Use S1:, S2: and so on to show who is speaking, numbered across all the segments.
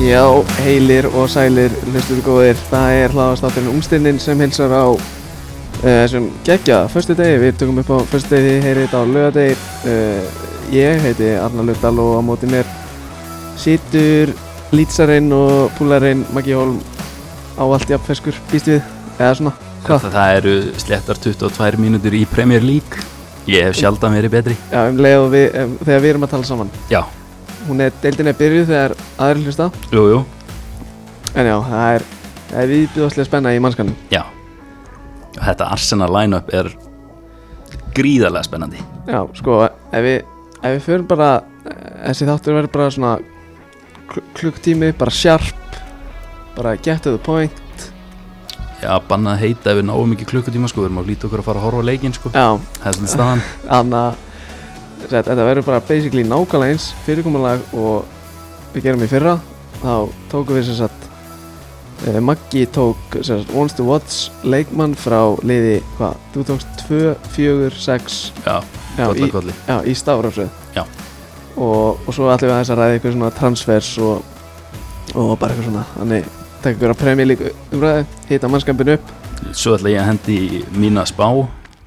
S1: Já, heilir og sælir, hlustur góðir, það er hlaðastátturinn Ungstinnin sem hilsar á uh, sem geggja, förstu degi, við tökum upp á förstu degi, heyrið þetta á lögadegi, uh, ég heiti Arnar Lögdal og á móti mér situr lýtsarinn og púlarinn Maggi Holm á allt jafnferskur, býst við, eða svona,
S2: Það, það eru slettar 22 mínútur í Premier League Ég hef sjaldan verið betri
S1: já, um leið og við, um, þegar við erum að tala saman.
S2: Já,
S1: Hún er, deildin er byrjuð þegar aðrir hlusta,
S2: jú, jú
S1: en já, það er, það er viðbjóðslega spenna í mannskanum.
S2: Já Og Þetta Arsenal line-up er gríðarlega spennandi
S1: Já, sko, ef við, ef við förum bara eh, þessi þáttur verður bara svona kl klukktími, bara sharp bara get to the point
S2: Já, bannað að heita ef við náum ekki klukkutíma sko, við erum að líta okkur að fara að horfa á leikinn sko
S1: Já,
S2: Það er svona staðan
S1: annað sett, þetta verður bara basically nákvæmlega eins fyrirkomulag og við gerum í fyrra þá tókum við sem sagt eh, Maggi tók sem sagt Wants to Watch leikmann frá liði, hvað, þú tókst 2, 4, 6
S2: Já,
S1: já, í,
S2: kolli, kolli
S1: já, í stafrafsöð
S2: Já.
S1: og, og svo ætlum við aðeins að ræða eitthvað svona transfers og, og bara eitthvað svona þannig taka ykkur að premja líka umræði hita mannskampin upp
S2: Svo ætla ég að hendi í mína spá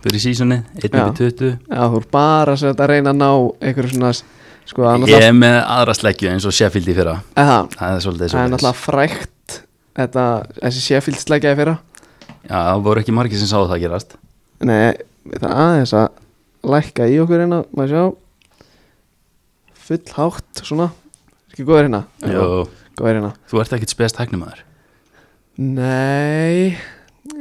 S2: fyrir sísunni, 1
S1: Já.
S2: upp í 20
S1: að þú er bara sem sagt að reyna að ná eitthvað svona sko að
S2: Ég
S1: náttúrulega
S2: er með aðra sleggju eins og Sheffield í fyrra
S1: eða,
S2: Það er svolítið
S1: það er
S2: svo
S1: náttúrulega frækt þetta, þessi Sheffield slækjaði fyrra
S2: Já, það voru ekki margir sem sáðu það gerast
S1: nei, það er aðeins að lækka í okkur hérna, maður sjá full hátt svona ekki góður hérna
S2: Jú,
S1: góður hérna
S2: þú ert ekkit spes tæknumæður
S1: Nei,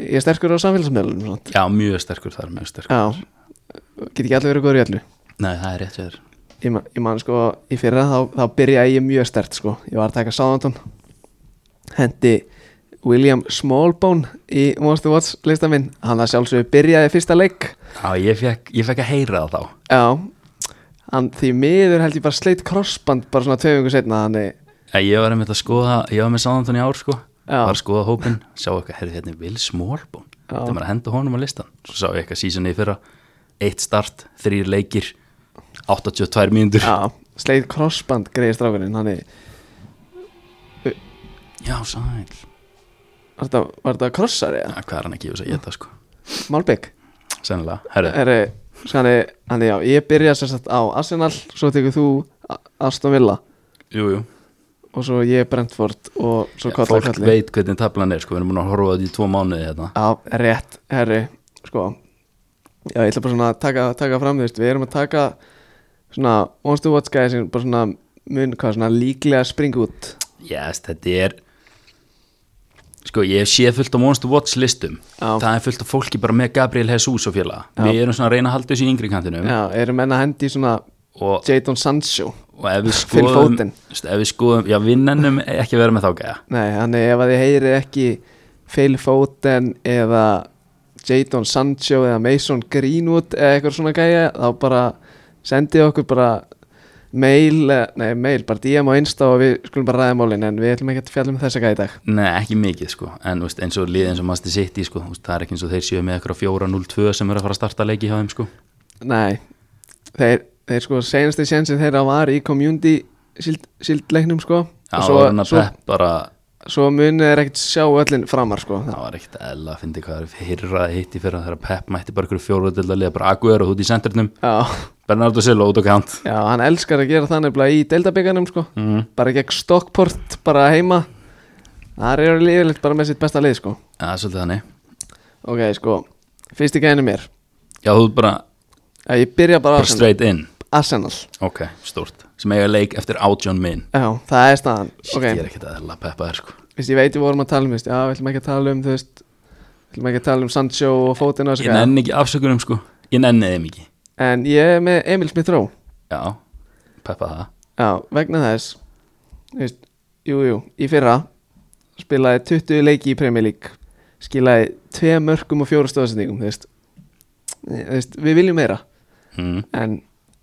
S1: ég er sterkur á samfélagsmiðlunum svona.
S2: Já, mjög sterkur þar, mjög sterkur
S1: Já, sko. get ekki allir verið góður í allu
S2: Nei, það er rétt fyrir
S1: Ég, man- ég man sko, í fyrra þá, þá byrjaði ég mjög stert sko Ég var að taka sáðantón Hendi William Smallbone í Monster Watch lista minn Hann að sjálfsögðu byrjaði fyrsta leik
S2: Já, ég fekk, ég fekk að heyra það þá
S1: Já, hann því miður held ég bara sleitt krossband bara svona tveimingu setna Þannig,
S2: Ég, ég var einmitt að skoða, ég var með Sáðantón í ár sko
S1: Já.
S2: Var að skoða hópin, sá eitthvað, herrið hérna er Will Smallbone
S1: Já.
S2: Þetta maður að henda honum á listan Svo sá ég eitthvað sísunni í fyrra Eitt start, þrýr leikir 82 mínútur Já,
S1: já, sleitt krossband greiði strákurinn Þannig,
S2: sæl
S1: var þetta, var þetta krossari eða?
S2: ja, Hvað er hann að gefa þess að geta sko
S1: Malbygg?
S2: Sennilega, herrið,
S1: Herri, skani, sko, hann já, ég byrja sem sagt á Arsenal, svo tekur þú A- Aston Villa
S2: jú, jú
S1: og svo ég Brentford og svo
S2: Já,
S1: kolla
S2: Fólk
S1: kolli.
S2: veit hvernig tablan er sko Við erum búin að horfa á þetta í tvo mánuði hérna
S1: Já, rétt, herri, sko, já, ég ætla bara svona að taka, taka fram, þú veist, við erum að taka svona Once to Watch guys sem bara svona mun, hvað, svona líklega springa út.
S2: Yes, þetta er Sko, ég sé fullt á Monster Watch listum
S1: Já.
S2: Það er fullt af fólki bara með Gabriel Jesus og fjöla Við erum svona að reyna að halda þessu í yngri kantinum
S1: Já, erum enn að hendi í svona
S2: og,
S1: Jadon Sancho.
S2: og ef við
S1: Phil
S2: skoðum
S1: Foden.
S2: Ef við skoðum, já við nennum ekki að vera með þá gæja
S1: Nei, þannig ef að þið heyrið ekki Phil Foden eða Jadon Sancho eða Mason Greenwood eða eitthvað svona gæja þá bara sendið okkur bara mail, eh, nei mail, bara DM á Insta og við skulum bara ræða málin en við ætlum ekki að fjalla um þessa gæja í dag
S2: Nei, ekki mikið sko, en veist, eins og liðin eins og Master City sko, veist, það er ekki eins og þeir séu með eitthvað 4-0-2 sem eru að fara að starta leiki hjá þeim sko
S1: Nei, þeir, þeir sko senasti sjensin þeirra var í community síld, síldleiknum sko og
S2: Já, það
S1: svo,
S2: var hann að
S1: svo,
S2: pepp bara,
S1: svo munið er ekkert sjá öllin framar sko
S2: það var ekkert eðla að fyndi hvað er hirraði hitt í fyrra þegar pepp mætti bara ykkur fjóruðilda liða bara Aguero út í sendurnum,
S1: Já,
S2: Bernardo Silva út á kant
S1: Já, hann elskar að gera þannig bara í deildabyggarnum sko
S2: mm.
S1: bara gegn Stockport, bara heima það eru lífilegt bara með sitt besta lið sko
S2: Það er svolítið þannig
S1: ok, sko, fyrst í gæðinu mér
S2: Já, þú ert bara,
S1: að ég byrja bara á
S2: bara
S1: Arsenal,
S2: straight in
S1: Arsenal.
S2: Ok, stórt Sem eiga leik eftir átjón minn
S1: Já, það er staðan
S2: Shit,
S1: ok,
S2: Ég er ekkert eðla peppaður sko
S1: Vist, ég veit ég vorum að tala um veist, já, við ætlum ekki að tala um þú veist, við ætlum ekki að tala um Sancho og Fótina og
S2: Ég
S1: þessu gæða
S2: nenni ekki afsökunum sko Ég nenni þeim ekki
S1: en ég er með Emil Smith-Ró
S2: Já, peppa það
S1: já, vegna þess þú veist, jú, jú, í fyrra spilaði 20 leiki í Premier League skilaði 2 mörgum og 4 stóðsendingum þú veist, Þú veist, við viljum meira
S2: mm.
S1: en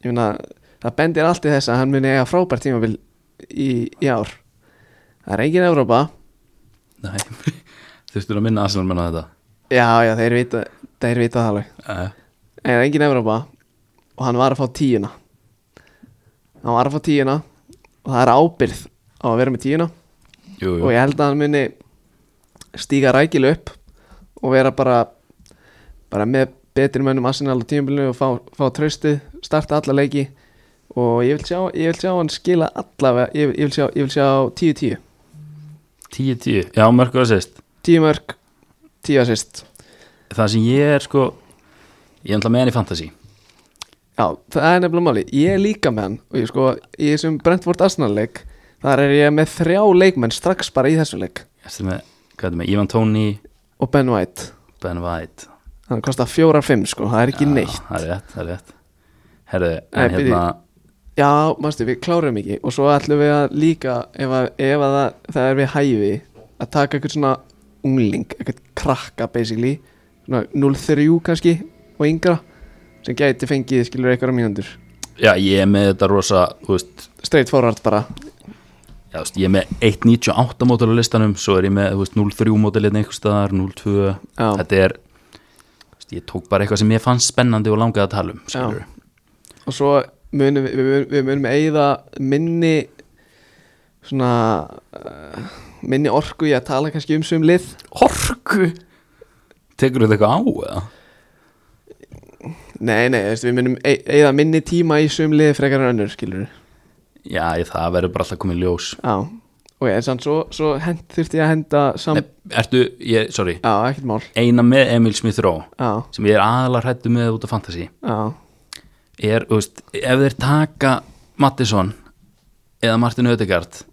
S1: ég meina það bendir allt í þess að hann muni eiga frábært tímabil í, í ár það er engin Evrópa
S2: Nei Þurftur að minna Arsenal menn á þetta
S1: já já þeir vita, þeir vita það alveg
S2: uh,
S1: en það er engin Evrópa og hann var að fá tíuna hann var að fá tíuna og það er ábyrð á að vera með tíuna
S2: jú,
S1: og
S2: jú.
S1: ég held að hann muni stíga rækil upp og vera bara bara með betri mönnum Arsenal á tímabilinu og fá, fá tröstið, starta alla leiki og ég vil sjá, ég vil sjá hann skila allavega, ég, ég vil sjá ég vil sjá 10-10,
S2: 10-10, já, mörg og assist
S1: 10 mörg 10 assist,
S2: það sem ég er sko ég er alltaf með hann í fantasy
S1: já það er nefnilega máli, ég er líka með hann og ég sko, í þessum Brentford Arsenal leik þar er ég með þrjá leikmenn strax bara í þessu leik
S2: ég er með, hvað er það með, Ivan Tóni
S1: og Ben White,
S2: Ben White
S1: hann kostar 4-5 sko, það er ekki
S2: Já,
S1: neitt
S2: það er rétt, það er rétt herru,
S1: Nei,
S2: en
S1: byrju.
S2: hérna
S1: Já, mástu, við klárum ekki og svo ætlum við að líka ef, að, ef að það, það er við hæfi að taka eitthvað svona ungling eitthvað krakka basically svona 0-3 kannski og yngra sem gæti fengið skilur eitthvað mínundur
S2: já, ég er með þetta rosa, þú veist
S1: straight forward bara
S2: já, þú veist, ég er með 1.98 mótil á listanum svo er ég með, þú veist, 0.3 mótil hérna einhvers staðar, 0.2
S1: Já.
S2: þetta er, þú veist, ég tók bara eitthvað sem ég fannst spennandi og langaði að tala um skilurðu.
S1: og svo munum við, við, við munum eigða minni svona uh, minni orku í að tala kannski um sum lið
S2: Horku Tekur þetta eitthvað á eða?
S1: Nei, nei, þú veist, við munum ey- eigða minni tíma í sum lið frekar en önnur skilur
S2: Já, ég, það verður bara alltaf komið ljós
S1: Já, og ég, en sann, svo, svo hend, þurfti ég að henda sam...
S2: Nei, Ertu, ég, sorry
S1: Já, ekkert mál
S2: Eina með Emil Smith Rowe
S1: Já,
S2: sem ég er aðalega hrættu með út af fantasy
S1: já,
S2: er, þú veist, ef þeir taka Mattisson eða Martin Ödegard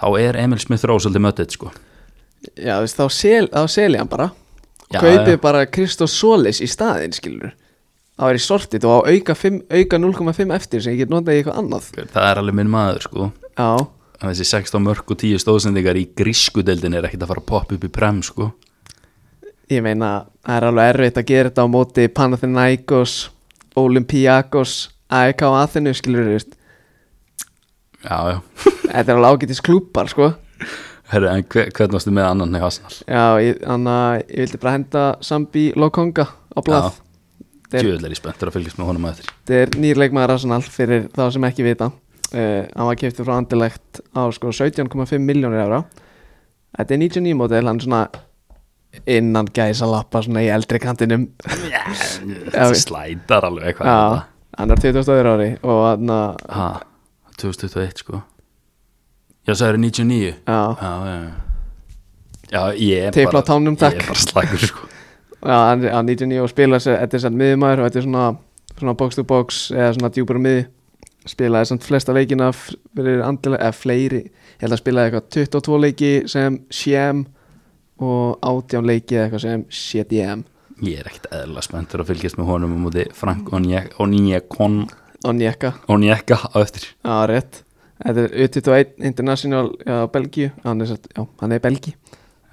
S2: þá er Emil Smith Rowe svolítið möttið sko
S1: já, þú veist, þá, sel, þá seli hann bara og
S2: Já,
S1: kaupið
S2: já.
S1: bara Kristóf Solis í staðinn, skilur Það var í sortið og á auka, 5, auka 0,5 eftir sem ég get notað í eitthvað annað
S2: það er alveg minn maður sko
S1: Já,
S2: En þessi 16 mörg og 10 stóðsendingar í grískudeldin er ekkert að fara að poppa upp í prem sko
S1: ég meina, það er alveg erfitt að gera þetta á móti Panathinaikos, Olympiakos, AEK og Athenu, skilur veist.
S2: Já, já,
S1: Þetta er alveg ágætis klúpar, sko
S2: herru, en hver, hvernig varstu með annan í Arsenal?
S1: Já, ég- þannig að ég vildi bara henda Sambi Lokonga á blað
S2: Já.
S1: Þetta er-
S2: Djöðlega er ég spenntur að fylgjast með honum að eftir
S1: Þetta er nýr leikmaður Arsenal fyrir þá sem ekki vita uh, Hann var keftur frá Andilegt á sko 17,5 miljónir ára Þetta er 99 mótil, hann er svona innan gæsa lappa svona í eldri kantinum
S2: Þetta
S1: við-
S2: slætar alveg hvað er
S1: Já, hann er 22 ári og hann að-
S2: þetta? Ha, 2021 sko Já, það eru 99
S1: já,
S2: Já, já, já Já, ég er
S1: Tipla á tánum, takk.
S2: Ég er bara slagur sko
S1: já, hann er hann er 99 og spila sér, þetta er sann miðmaður og þetta er svona, svona box to box eða svona djúpur mið spilaði samt flesta leikina f- fyrir andilega, eða fleiri ég held að spilaði eitthvað 22 leiki sem CM og 18 leiki eða eitthvað sem CDM
S2: Ég er ekkert eðla spenntur að fylgjast með honum á móti Frank Onyekon
S1: og Njekka,
S2: Onyeka á eftir
S1: já, rétt þetta er U21 International já, Belgíu, hann er, satt- já, hann er Belgi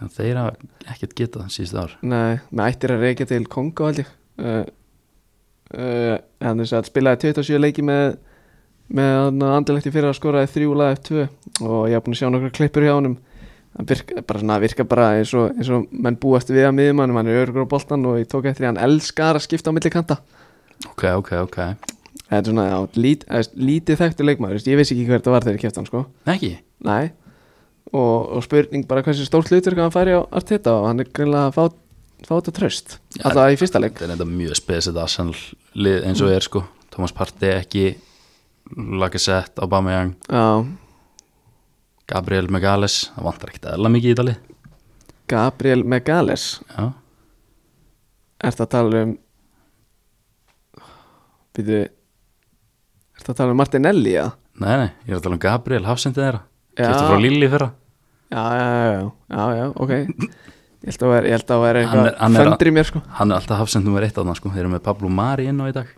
S2: En þeir hafa ekkert getað það síðustu ár
S1: nei, með ættir að reykja til Kongo held ég uh, uh, hann er satt, spilaði 27 leiki með með andilegt í fyrir að skoraði þrjú laga F2 og ég haf búin að sjá nokkra klippur hjá honum hann virka bara, svona, virka bara eins, og, eins og menn búast við að miðmannum hann er örugur á boltan og ég tók eftir því að hann elskar að skipta á milli kanta
S2: Ok, ok, ok
S1: þetta er svona já, lít, eða, þú veist, lítið þekktur leikmaður þú veist, ég vissi ekki hver þetta var þegar ég kefti hann sko
S2: Nei ekki
S1: Nei og, og spurning bara hversu stórt hlutur hann færi á Arteta og hann er greinlega að fá, fá þetta tröst
S2: Já,
S1: alltaf í fyrsta leik
S2: Þetta er enda mjög spes þetta Arsenal lið eins og er sko Thomas Partey ekki Lacazette, Aubameyang
S1: Já,
S2: Gabriel Megales Það vantar ekkert eðla mikið í dali
S1: Gabriel Megales
S2: Já
S1: Ertu að tala um Býtu Ertu að tala um Martinelli ja?
S2: Nei, nei, ég er að tala um Gabriel, hafsendið þeirra
S1: Já.
S2: Kæftu frá Lilli fyrra
S1: Já, já, já, já, já, já, ok Ég held að vera, ég held að vera
S2: Hann er- hann
S1: eitthvað
S2: er að-
S1: föndri mér sko
S2: Hann er alltaf hafsendum er eitt af það sko Þeir eru með Pablo Mari inn á í dag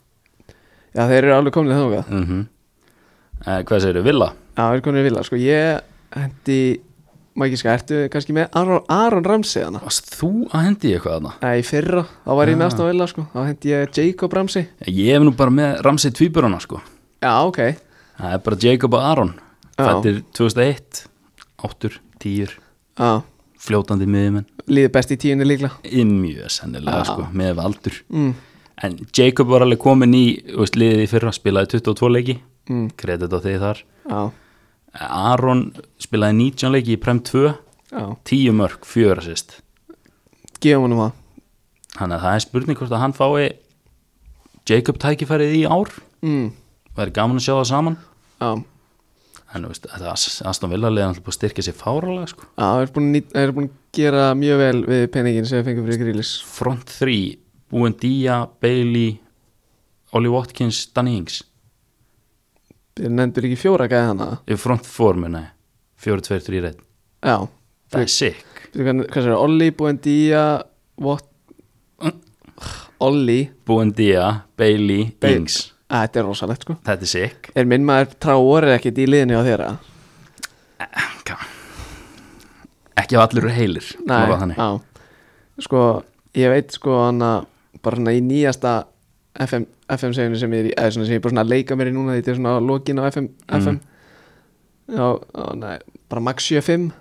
S1: Já, þeir eru alveg komnið þangað
S2: mm eh, Hvað segirðu, Villa?
S1: Já, þeir eru komnið vilja sko Ég hendi, maður ekki sko, ertu kannski með Aron, Aron Ramsey hana
S2: Varst þú að hendi í eitthvað þarna?
S1: Nei, í fyrra, þá var ég
S2: Ah.
S1: með Aston Villa sko Þá hendi ég Jacob Ramsey
S2: Ég hef nú bara með Ramsey tvíburana sko
S1: Já, ok
S2: Það er bara Jacob og Aron
S1: Já.
S2: Fættir 2001 Áttur, tíur,
S1: Já,
S2: fljótandi miðumenn
S1: líður best í tíunni líkla
S2: Í mjög sennilega sko, með valdur
S1: mm.
S2: En Jacob var alveg komin í þú veist, liðið í fyrra, spilaði 22 leiki
S1: Mm.
S2: Kredit á þig þar
S1: Já,
S2: Aron spilaði 19 leiki í Prem 2
S1: já,
S2: 10 mörg, 4 assist
S1: gefum honum það
S2: þannig að það er spurning hvort að hann fái Jacob tækifærið í ár
S1: mm,
S2: væri gaman að sjá það saman
S1: já,
S2: en þú veist, þetta Aston Villa liðan alltaf búið að styrkja sér fáralega sko.
S1: já, það er búin að nýt- það er búin að gera mjög vel við peningin sem við fengum fyrir grílis
S2: front 3 Búin Día, Bailey Ollie Watkins, Danny Ings
S1: við nefndur ekki fjóra gæði hana
S2: Ef front 4 muni 4-2-3-1
S1: já,
S2: það er sick
S1: Fyrir hvern- hvað sér, Olli, Buendía What Olli,
S2: Búin Día, Bailey,
S1: Ba-
S2: Ings
S1: að þetta er rosalegt sko
S2: þetta er sick
S1: er minn maður trá orðið ekkert í liðinu á þeirra
S2: ekki ef allir eru heilir orða það þannig.
S1: á, sko, ég veit sko hana, bara svona í nýjasta FM, FM seginu sem ég er í eða svona sem ég er bara svona að leika mér í núna þetta er svona lokin á FM,
S2: Mm.
S1: FM. Já, á, nei, bara Max 75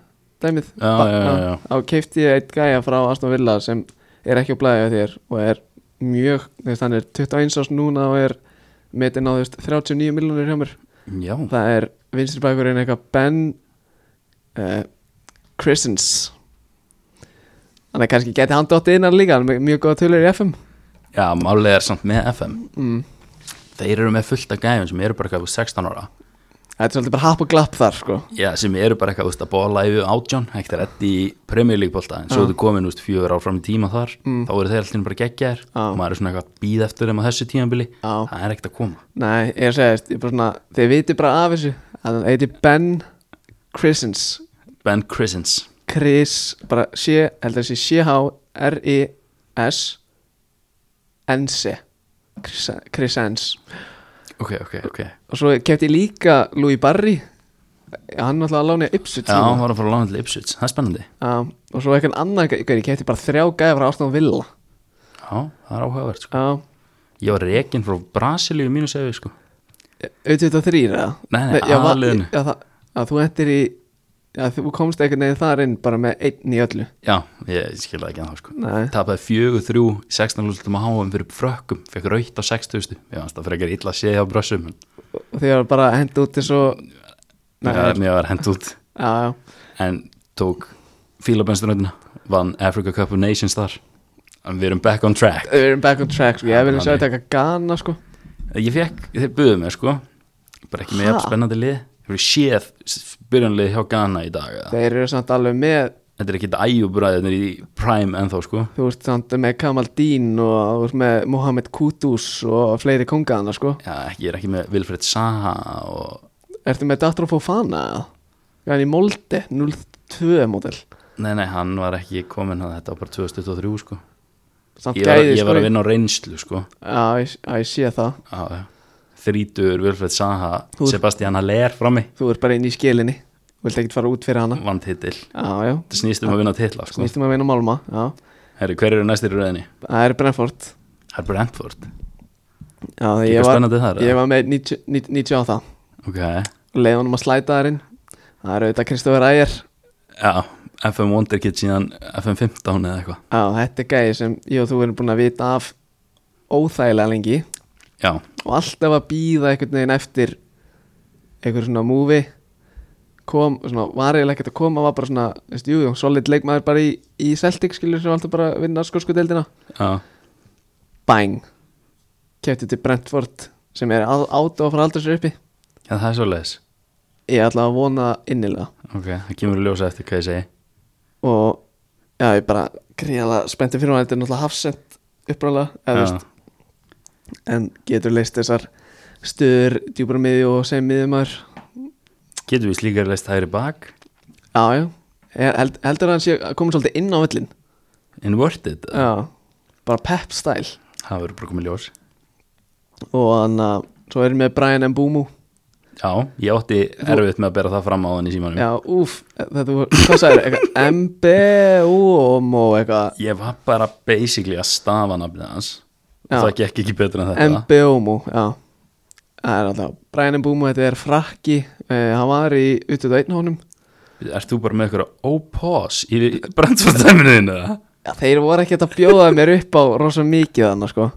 S1: dæmið
S2: Já,
S1: Ba-
S2: já, já, já.
S1: á keifti ég eitt gæja frá Aston Villa sem er ekki á blæði á þér og er mjög, þú veist, hann er 21 árs núna og er metin á þú veist 39 miljonir hjá mér
S2: já,
S1: það er vinstri bakurinn eitthvað Ben uh, Christens þannig að kannski geti hann dottið innan líka hann er með mjög góða tölur í FM
S2: já málega er samt með FM
S1: mm.
S2: þeir eru með fullt af gæfum sem eru bara eitthvað 16 ára
S1: það er svolítið bara happ og glapp þar sko.
S2: já, sem eru bara eitthvað úst, að bóla yfir átján ekkert rétt í Premier League bólta en svo
S1: Já.
S2: þú komin úst, fjögur ár fram í tíma þar
S1: Mm.
S2: þá eru þeir alltaf bara geggjaðir
S1: Já.
S2: og maður er svona eitthvað býð eftir þeim á þessu tímanbili
S1: á,
S2: það er ekkert að koma
S1: nei, ég er að segja veist, ég er bara svona, þeir viti bara af þessu að hann heiti Ben Christens
S2: Ben Christens
S1: Chris, bara sé, heldur þessi E C-H-R-I-S Ense Chris, Chris Ens
S2: ok, ok, ok já,
S1: og svo kefti ég líka Louis Barry hann náttúrulega að lána í Ipswich núna.
S2: hann var að fara að lána til Ipswich, það er spennandi
S1: Já, og svo eitthvað annan gæri, ég kefti bara þrjá gæði frá Aston Villa
S2: já, það er áhugavert sko.
S1: Já,
S2: ég var rekin frá Brasilíu mínu sefi sko.
S1: auðvitað þrýr eða?
S2: Nei, nei,
S1: já, va-
S2: aðalliðinu.
S1: Já, það, að þú endir í Já, þú komst eitthvað neginn þar inn bara með einn í öllu
S2: já, ég skilði ekki að það sko.
S1: Nei,
S2: tapaði 4-3 16 lústum á háum fyrir frökkum fekk raukt á 6000 ég fannst það frekar illa að sé á brössum en
S1: og því var bara hend út eins og Nei,
S2: mér var- mér var hent út
S1: já, já,
S2: en tók fílabenstunöðina vann Africa Cup of Nations þar en við erum back on track
S1: við erum back on track sko. Ég vil sjá
S2: Þannig.
S1: þetta eitthvað gana sko
S2: ég fekk, þeir buðu mér sko bara ekki með
S1: Ha?
S2: jafn spennandi lið hefur séð byrjanlið hjá Ghana í dag eða?
S1: Þeir eru samt alveg með
S2: þetta er ekki þetta æjubræðinir í prime ennþá sko
S1: Þú veist samt með Kamal Dín og þú veist með Mohamed Kudus og fleiri kongaðana sko
S2: Já, ekki, ég er ekki með Vilfred Saha og
S1: Ertu með Dattro Fofana? eða? Hann í Molde 02 módel
S2: Nei, nei, hann var ekki komin að þetta var bara 2023 sko
S1: Samt
S2: Ég var,
S1: gæði
S2: ég
S1: sko
S2: var
S1: í-
S2: að vinna á reynslu sko
S1: Já, ég, já, ég sé það
S2: Já, já. Þrítur, Vilfred Saha,
S1: Þú-
S2: Sebastian Haller frammi
S1: Þú ert bara inn í skilinni Þú vilt ekkert fara út fyrir hana
S2: vann titil
S1: Já, já,
S2: Þetta snýst um að vinna titla sko
S1: snýstum að vinna málma Já,
S2: Herri, hver eru næstir í röðinni?
S1: það er Brentford
S2: Það er Brentford
S1: Já,
S2: Ekki
S1: ég var,
S2: spennandi þar
S1: ég
S2: var...
S1: var með 90 90 98
S2: Ok,
S1: Leði honum að slæta þarinn Það er auðvitað Kristofur Æger
S2: já, FM Wonderkid síðan FM 15 eða eitthvað
S1: Já, þetta er gæði sem ég og þú erum búin að vita af óþægilega lengi
S2: Já,
S1: og alltaf að býða einhvern veginn eftir einhver svona múfi kom, svona, var eiginlega ekkert að koma var bara svona, veist, jú, jú, solid leikmaður bara í, í Celtic, skilur sem alltaf bara að vinna skorsku deildina
S2: já,
S1: bang kefti til Brentford sem er á- át og frá aldur sér uppi
S2: já það er svoleiðis
S1: ég ætla að vona innilega
S2: Ok, það kemur að ljósa eftir hvað ég segi
S1: og já, ég bara gríðalega spennti fyrir hann, þetta er náttúrulega hafsend upprálega, eða þú veist en getur leist þessar stöður djúpar miðju og sem miðjumar
S2: Getur við slíkar leist hægri bak
S1: já, já, Ég held, heldur að hann sé að koma svolítið inn á völlin
S2: Inverted
S1: já, bara pep style
S2: Það verður bara komið ljós
S1: og hann að, svo erum við Brian Mbumu
S2: Já, ég átti erfitt með að bera það fram á þannig símanum
S1: já, úf, þetta var, hvað sagði eitthvað MBUMO eitthvað,
S2: Ég var bara basically að stafa nafnið hans og
S1: Já.
S2: það gekk ekki betur en þetta
S1: MBUMO já, það er alltaf Brian Mbumu, þetta er frakki eh, hann var í utöðu einn honum
S2: Ert þú bara með eitthvað ópás í brandfórtæminuðinu?
S1: Já, þeir voru ekkert að bjóða mér upp á rosa mikið þannig sko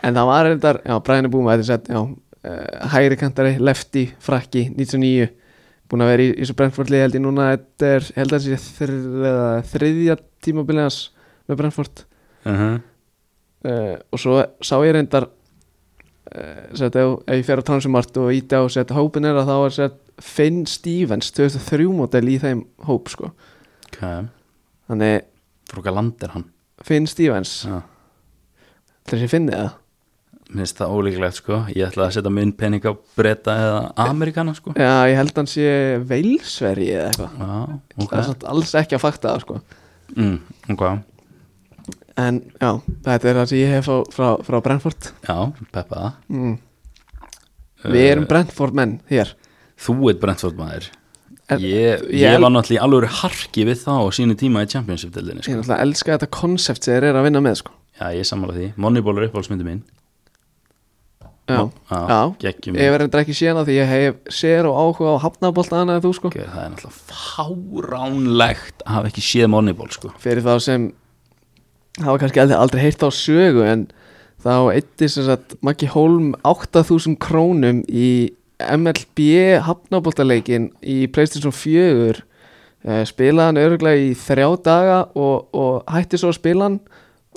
S1: En það var reyndar, eh, já, Brian er búin með þetta sett, já, uh, hægri kantari, lefty, frakki, 99 búin að vera í, í svo Brentford liði held ég núna þetta er, held að það sé þr, eða þriðja tímabilið hans með Brentford
S2: uh -huh.
S1: uh, og svo sá ég reyndar uh, set, ef, ef ég fer á transumart og íti á set, hópin er að þá er set, Finn Stevens 2003 model í þeim hóp sko.
S2: okay.
S1: þannig
S2: frá hvað land er hann
S1: Finn Stevens
S2: Já.
S1: þegar ég finni það
S2: Mér finnst það ólíklegt sko Ég ætlaði að setja minn pening á breyta eða Amerikana sko
S1: Já, ég held hann sé Veilsveri eða eitthvað
S2: Já, ok
S1: Það er samt alls ekki að fakta það sko
S2: mm, Ok,
S1: En já, þetta er það sem ég hef frá, frá, frá Brentford
S2: já, peppa það
S1: mm. Við erum Brentford menn hér
S2: Þú ert Brentford maður
S1: En-
S2: Ég,
S1: ég
S2: ég,
S1: el-
S2: var náttúrulega í alveg harki við þá á sínu tíma í Championship-dildinni
S1: Ég
S2: sko.
S1: náttúrulega elska þetta konsept sem þeir eru að vinna með sko
S2: Já, ég sammála því Moneyball er uppáhaldsmyndi mín
S1: Já,
S2: Já,
S1: já.
S2: geggjum
S1: Ég verður ekki síðan á því ég hef sér og áhuga á hafnabolt annað en þú sko
S2: Ok, Það er náttúrulega fáránlegt að hafa ekki séð Moneyball sko
S1: Fyrir þá sem hafa kannski aldrei, aldrei heyrt á sögu en þá eitti sem sagt Maggi Holm 8000 krónum í MLB hafnaboltaleikin í Playstation 4 Eh, spilaði hann örgulega í þrjá daga og, og hætti svo að spila hann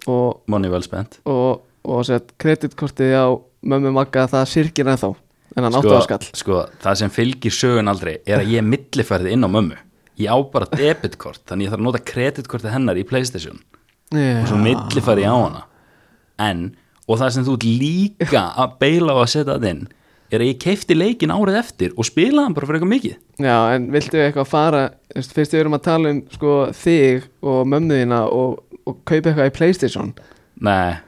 S1: og,
S2: Moneyball spennt
S1: og, og sett kreditkortið á mömmu Magga að það sirkir ennþá en hann áttu að skall
S2: sko, það sem fylgir sögun aldrei er að ég millifærði inn á mömmu Ég á bara debitkort, þannig ég þarf að nota kreditkortið hennar í Playstation og svo
S1: yeah.
S2: millifæri á hana en, og það sem þú ert líka að beila á að setja það inn er að ég keifti leikin árið eftir og spilaði hann bara fyrir eitthvað mikið
S1: Já, en viltu eitthvað fara þú veist, fyrst við erum að tala um sko, þig og mömmuðina og, og kaupa eitthvað í Playstation
S2: Nei,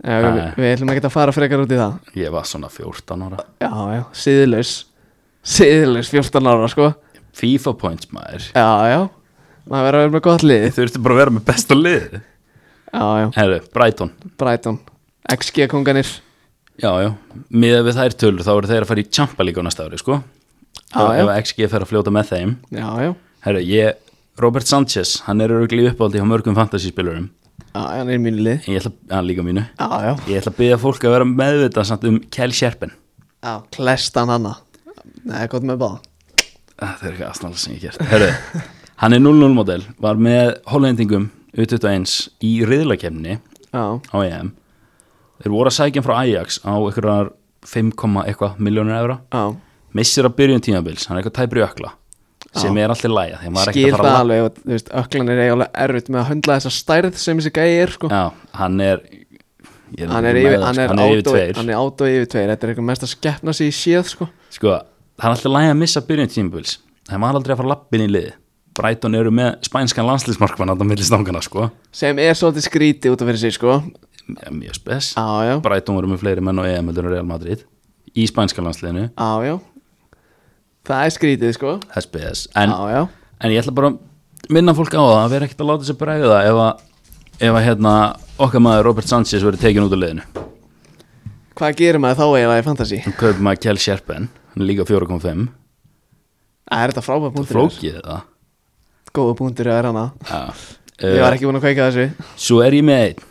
S1: Já, við,
S2: Nei.
S1: við ætlum ekki að fara frekar út í það
S2: ég var svona 14 ára
S1: Já, já, síðlaus Síðlaus 14 ára, sko
S2: FIFA points maður
S1: Já, já, maður verður að vera með gott lið
S2: Þau ertu bara að vera með besta lið
S1: Já, já,
S2: Herru, Brighton
S1: Brighton XG konganir
S2: Já, já, miðað við þær tölur þá eru þeir að fara í Champa líka á næsta ári, sko
S1: Já,
S2: Og
S1: já.
S2: Ef XG fer að fljóta með þeim
S1: Já, já,
S2: Herru, ég, Robert Sanchez, hann er öruglega uppáldi hjá mörgum fantasyspilurum
S1: já, hann er í mínu lið
S2: Ég ætla, hann líka mínu
S1: Já, já,
S2: Ég ætla að byggja fólk að vera meðvitað samt um Kel Sherpen
S1: já, klestan hanna Nei, gott með báða
S2: Ah, Það er eitthvað aðsnála sem ég gert Heru, Hann er 0-0 model Var með hollendingum U21 í riðlakefni
S1: Já,
S2: á EM Þeir voru að sækja hann frá Ajax á einhverjar 5, eitthvað miljónur evra
S1: já,
S2: Missir að byrjun tímabils, hann er eitthvað tæpri ökla sem er alltaf lægja þegar maður er
S1: skil
S2: ekkert
S1: það
S2: að fara að la-
S1: alveg og, Þú veist, öklan er eiginlega erfitt með að höndla þessa stærð sem þessi gæi er, sko
S2: Já, hann er ég
S1: Hann er
S2: ekki
S1: yfir,
S2: með það,
S1: hann
S2: sko.
S1: er
S2: hann er yfir
S1: átó-
S2: tveir
S1: hann er át og yfir tveir Þetta er eitthvað mest að skeppna sig í séð, sko
S2: Sko, það er alltaf lægi að missa byrjun tímabils Það er maður aldrei að fara lappin í liði Brighton eru með spænskan landslísmarkmann Þannig að milli stangana, sko
S1: Sem er svolítið skríti út af fyrir sig, sko
S2: Ja, Mjög spes
S1: Já, já,
S2: Brighton voru með fleiri menn og EM heldur en Real Madrid Í spænska landsliðinu
S1: Já, já Það er skrítið, sko
S2: SPS en,
S1: Já, já
S2: en ég ætla bara að minna fólk á það að vera ekkert að láta sér bregða ef að, ef að hérna, okkar maður Robert Sanchez verið tekin út úr liðinu
S1: Hvað gerir maður þá eiginlega í fantasy?
S2: Hann kaupir maður Kjell Sjerpen hann er líka 4.5
S1: Það er þetta frábæð punktur
S2: Flókið það
S1: Góða punktur er hana
S2: ja.
S1: Ég var
S2: uh,
S1: ekki búin að kveika þessu
S2: Svo er ég með einn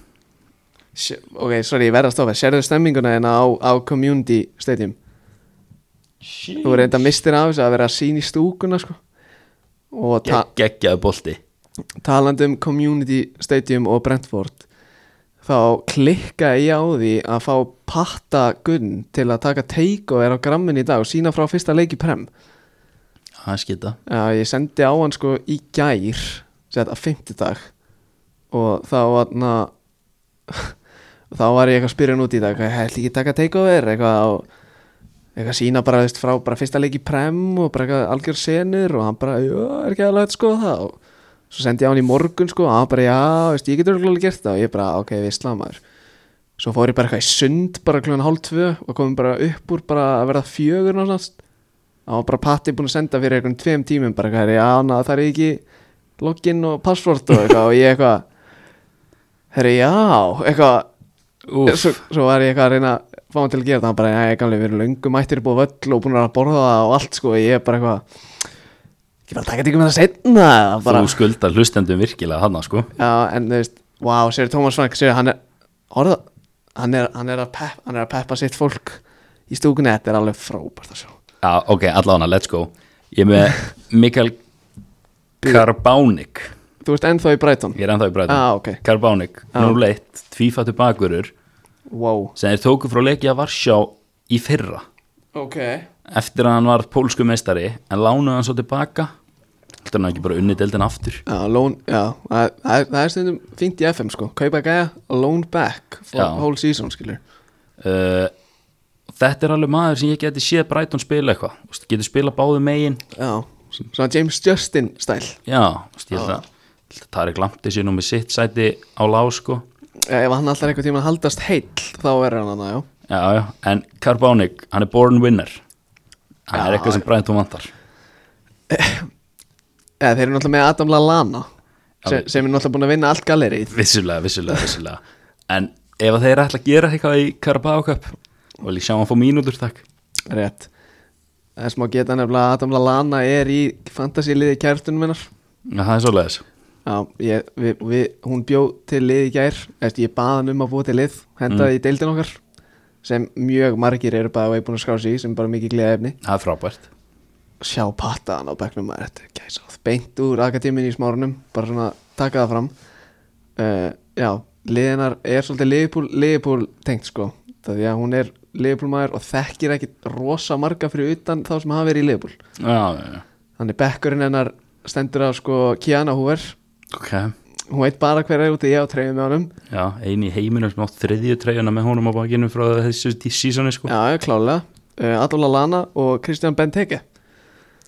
S1: Sj- Ok, sorry, ég verð að stofa Sérðu stemminguna en á, á Community Stadium Þú reynda mistir af þessu að vera að sín í stúkuna, sko Og ta
S2: Geggjaðu bolti
S1: talandi um Community Stadium og Brentford Þá klikka ég á því að fá patta gunn til að taka teik og vera á grammin í dag og sína frá fyrsta leiki prem
S2: Það er skita
S1: Já, ég sendi á hann sko í gær sett að fimmtudag og þá var þá var ég eitthvað að spyrja hann út í dag hvað, held ekki að taka takeover eitthvað og eitthvað sína bara, þú veist, frá bara fyrsta leik í prem og bara eitthvað algjör senur og hann bara, já, er ekki alveg að skoða það og svo sendi ég á hann í morgun sko og hann bara, já, þú veist, ég getur alveg gert það og ég bara, ok, við slamaður svo fór ég bara eitthvað í sund bara kljóðan hálf tvö og komum bara upp úr bara að verða fjögur náttúrulega Það var bara patti búin að senda fyrir einhvern tveim tímum bara hvað er ég annað það er ekki login og password og eitthvað og ég eitthvað herri já eitthvað svo, svo var ég eitthvað að reyna að fá hann til að gera það hann bara já ég gamlega við erum löngum mættir upp á völl og búin að borða það og allt sko ég er bara eitthvað ekki bara að taka þetta ykkur með það setna bara,
S2: Þú skuldar hlustendum virkilega hann sko
S1: já en þú veist wow sér Tómas Frank sér hann er orða, hann er, hann er, að, pep, hann er að peppa sitt fólk í stúkunni þetta er alveg frábært að sjá
S2: Já, ok, allána, let's go Ég er með Mikael Karbánik
S1: Þú ert ennþá í Brighton?
S2: Ég er ennþá í bræðum
S1: ah, ok,
S2: Karbánik,
S1: Já.
S2: núleitt, tvífættu bakurur
S1: wow
S2: sem þeir tóku frá leikja Varsjá í fyrra
S1: Ok,
S2: eftir að hann var pólsku meistari en lánuði hann svo tilbaka heldur hann hafi ekki bara unni deildin aftur
S1: já, loan, já það, það, er- það er stundum fínt í FM sko Kaupa gæja, loan back for
S2: Já.
S1: whole season skilur
S2: uh, þetta er alveg maður sem ég geti séð Brighton spila eitthvað Þú veist, getur spila báðu megin
S1: Já, svona James Justin stæl
S2: já, þú veist, ég
S1: Ah.
S2: held að, held að Tarek Lampti sér nú með sitt sæti á lág sko
S1: Ef hann alltaf einhvern tímann haldast heill þá verður hann annað, já
S2: já, já, en Karbánik, hann er born winner hann er eitthvað sem Brighton vantar
S1: Eða, þeir eru náttúrulega með Adam Lallana sem,
S2: við-
S1: sem er náttúrulega búin að vinna allt gallerið
S2: vissulega, vissulega, vissulega en ef að þeir ætla að gera eitthvað í Carabao Cup og ég sjá hann fá mínútur takk
S1: Rétt Það er smá geta nefnilega að Adam Lallana er í fantasíliði kærtunum minnar
S2: Já, það er svoleiðis
S1: Já, ég, við, við, hún bjó til lið í gær eftir ég baði hann um að búa til lið hendaði í deildin okkar sem mjög margir eru bara veið búin að skrá sig í sem er bara mikið gleða efni
S2: Það er frábært
S1: sjá pattaðan á bekknum maður þetta er gæsáð beint úr akademiðin í smárunum bara svona taka það fram uh, já, liðinar er svolítið liðbúl, liðbúl tengt sko það því að hún er liðbúl maður og þekkir ekki rosa marga fyrir utan þá sem hafa verið í liðbúl
S2: Já, já, já
S1: þannig bekkurinn hennar stendur á sko Kiana Hoover
S2: Ok
S1: hún veit bara hver er úti ég á treyfum með honum
S2: Já, eini í heiminum sem átt þriðju treyjuna með honum á bakinu frá þessu tí- sísoni sko Já,
S1: já, já, klálega, uh, Adolf Lana og Kristján Benteke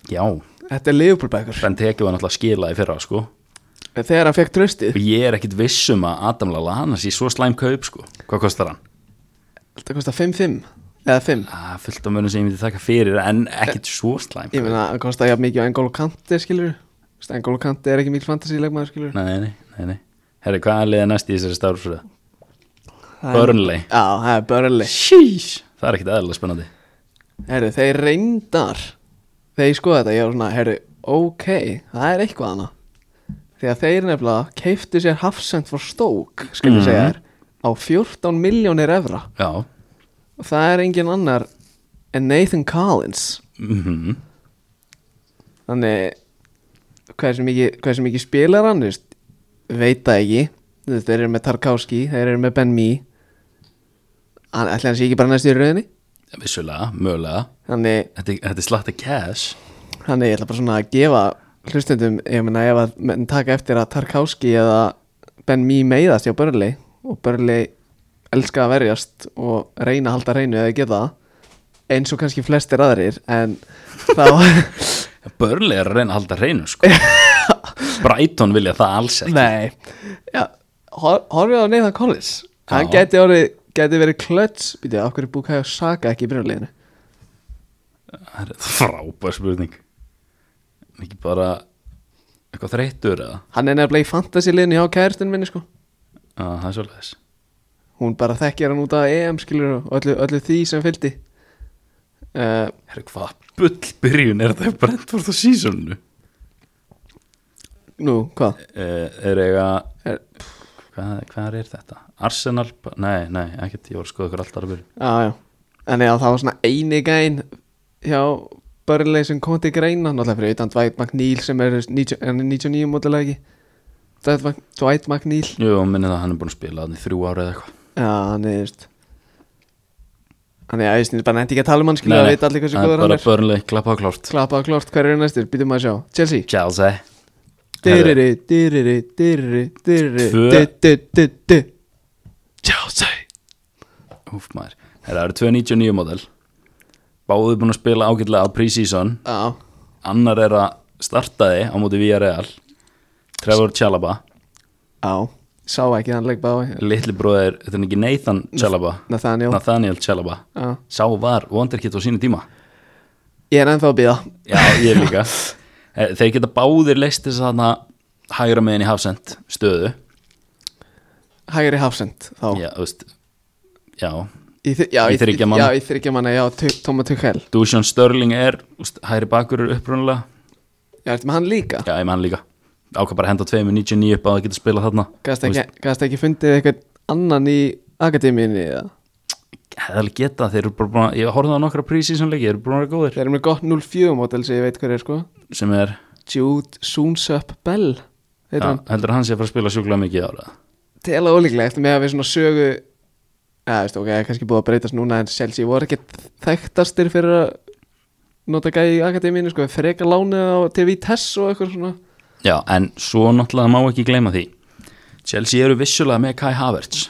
S1: þetta er liðbúl bekkur Eh,
S2: Benteke var náttúrulega skila í fyrra sko
S1: þegar hann fekk tröstið
S2: Og ég er ekkit viss um að Adam Lallana sé svo slæm kaup sko Hvað kostar hann?
S1: þetta kostar 5-5 eða 5
S2: Það er Ah, fullt af mönum sem ég myndi taka fyrir en ekkit svo slæm
S1: Ég meina, hann kostar jafn mikið á Engolo Kante, skilur Engolo Kante er ekki mikil fantasílegmaður, skilur
S2: Nei, nei, nei, nei Herri, hvað er liða næst í þessari starfsröðu? Burnley
S1: Já, það er Burnley
S2: Sheesh. Það er ekkit aðeinslega spennandi
S1: Herru, þeir reyndar Þegar ég skoða þetta, ég var svona, herru, ok Það er eitthvað hana Þegar þeir nefnilega keiftu sér hafsend frá stók, skilur
S2: Mhm.
S1: segja þér Á 14 miljónir evra
S2: Já
S1: Og það er engin annar en Nathan Collins
S2: mm
S1: Þannig hversu mikið, hversu mikið spilar hann þú veist, veit það ekki Þú veist, þeir eru með Tarkovski, þeir eru með Ben Mee hann, ætli hann sé ekki bara næst í rauninni
S2: Vissulega, mögulega
S1: þannig,
S2: Þetta, er- þetta er slatta cash
S1: þannig ég ætla bara svona að gefa hlustendum, ég meina ef að menn taka eftir að Tarkovski eða Ben Mee meiðast hjá Börli og Börli elska að verjast og reyna að halda reynu eða geta það eins og kannski flestir aðrir en þá
S2: Börli er að reyna að halda hreinu sko Brighton vilja það alls ekki
S1: Nei Já, hor- horfið á Nathan Collins
S2: Já.
S1: Hann geti, orðið, geti verið klöts Býtu, af hverju búið að saka ekki í byrjuleginu
S2: Það er frábær spurning Ekki bara eitthvað þreyttur eða
S1: Hann er nefnilega í fantasy-liðinu hjá kæristinu minni sko
S2: Já, það er svolítið
S1: Hún bara þekkir hann út af EM skilur og öllu, öllu því sem fylgdi uh,
S2: Herru, hvað bull byrjun er þetta Brentford á sísonu
S1: Nú, hvað?
S2: uh, Er eiga
S1: Er-
S2: hvað, hvað er þetta? Arsenal? Nei, nei, ekkert, ég voru að skoða ykkur alltaf að byrjun
S1: Já, já En já, það var svona eini gæn hjá Börleik sem kom til greina Náttúrulega fyrir utan Dwight McNeil sem er 90 hann er 99 mótilega ekki Dwight Mc- Dwight McNeil
S2: Jú, minni það að hann er búin að spila þannig þrjú ára eða eitthvað
S1: Já, hann er just Hann er aðeins, bara nefndi ekki að tala um hann skilur
S2: Nei,
S1: að
S2: nei,
S1: veit allir hversu
S2: það er
S1: góður hann
S2: bara
S1: er
S2: börnleg, klappa og klárt
S1: Klappa og klort, hver er næstur, býtum maður að sjá Chelsea,
S2: Chelsea
S1: dyrri, dyrri, dyrri, dyrri
S2: Tvö.
S1: Dyrri, Chelsea
S2: Úf maður Herra, Það eru 299 model Báðu búin að spila ágætlega á pre-season
S1: Já,
S2: Annar er að starta þið á móti Villarreal Trevor Chalaba
S1: já, sá ekki hann leik bái
S2: Litli bróðir, þetta er ekki Nathan Chalaba
S1: Nathaniel
S2: Nathaniel Chalaba
S1: Já.
S2: Sá var wonderkid á sínu tíma
S1: Ég er ennþá að býða
S2: Já, ég líka Eh, Þeir geta báðir leist þess að hægra meðin í hafsend stöðu
S1: Hægri Hafsend þá
S2: Já, þú veist Já,
S1: Í þri- já,
S2: Í
S1: í-
S2: þriggja manna.
S1: Já, í þryggja manna, já, Tu- Toma Tuchel
S2: Dushan Störling er þú veist, hægri bakur upprunalega
S1: Já, ertu með hann líka?
S2: Já, ég mann líka Ákvað bara að henda 2.99 upp á að geta spilað þarna
S1: Gast ekki, gast ekki fundið eitthvað annan í akademíunni eða?
S2: hefði alveg getað, þeir eru bara búin að ég horfði á nokkra prísísson leiki, þeir eru búin að vera góðir
S1: Þeir eru með gott 04 mótel sem ég veit hver er sko
S2: sem er,
S1: Jude Soonsup Bell
S2: já,
S1: heitir hann
S2: heldur hann sé að fara að spila sjúklega mikið ára
S1: Tela ólíklegt með að við svona sögu Já, veist, ok, kannski búið að breytast núna en Chelsea voru ekkert þekktastir fyrir að nota gæði í akademíinu sko, frekar lánið á TV Tess og eitthvað svona
S2: já, en svo náttúrulega má ekki gleyma því Chelsea eru vissulega með Kai Havertz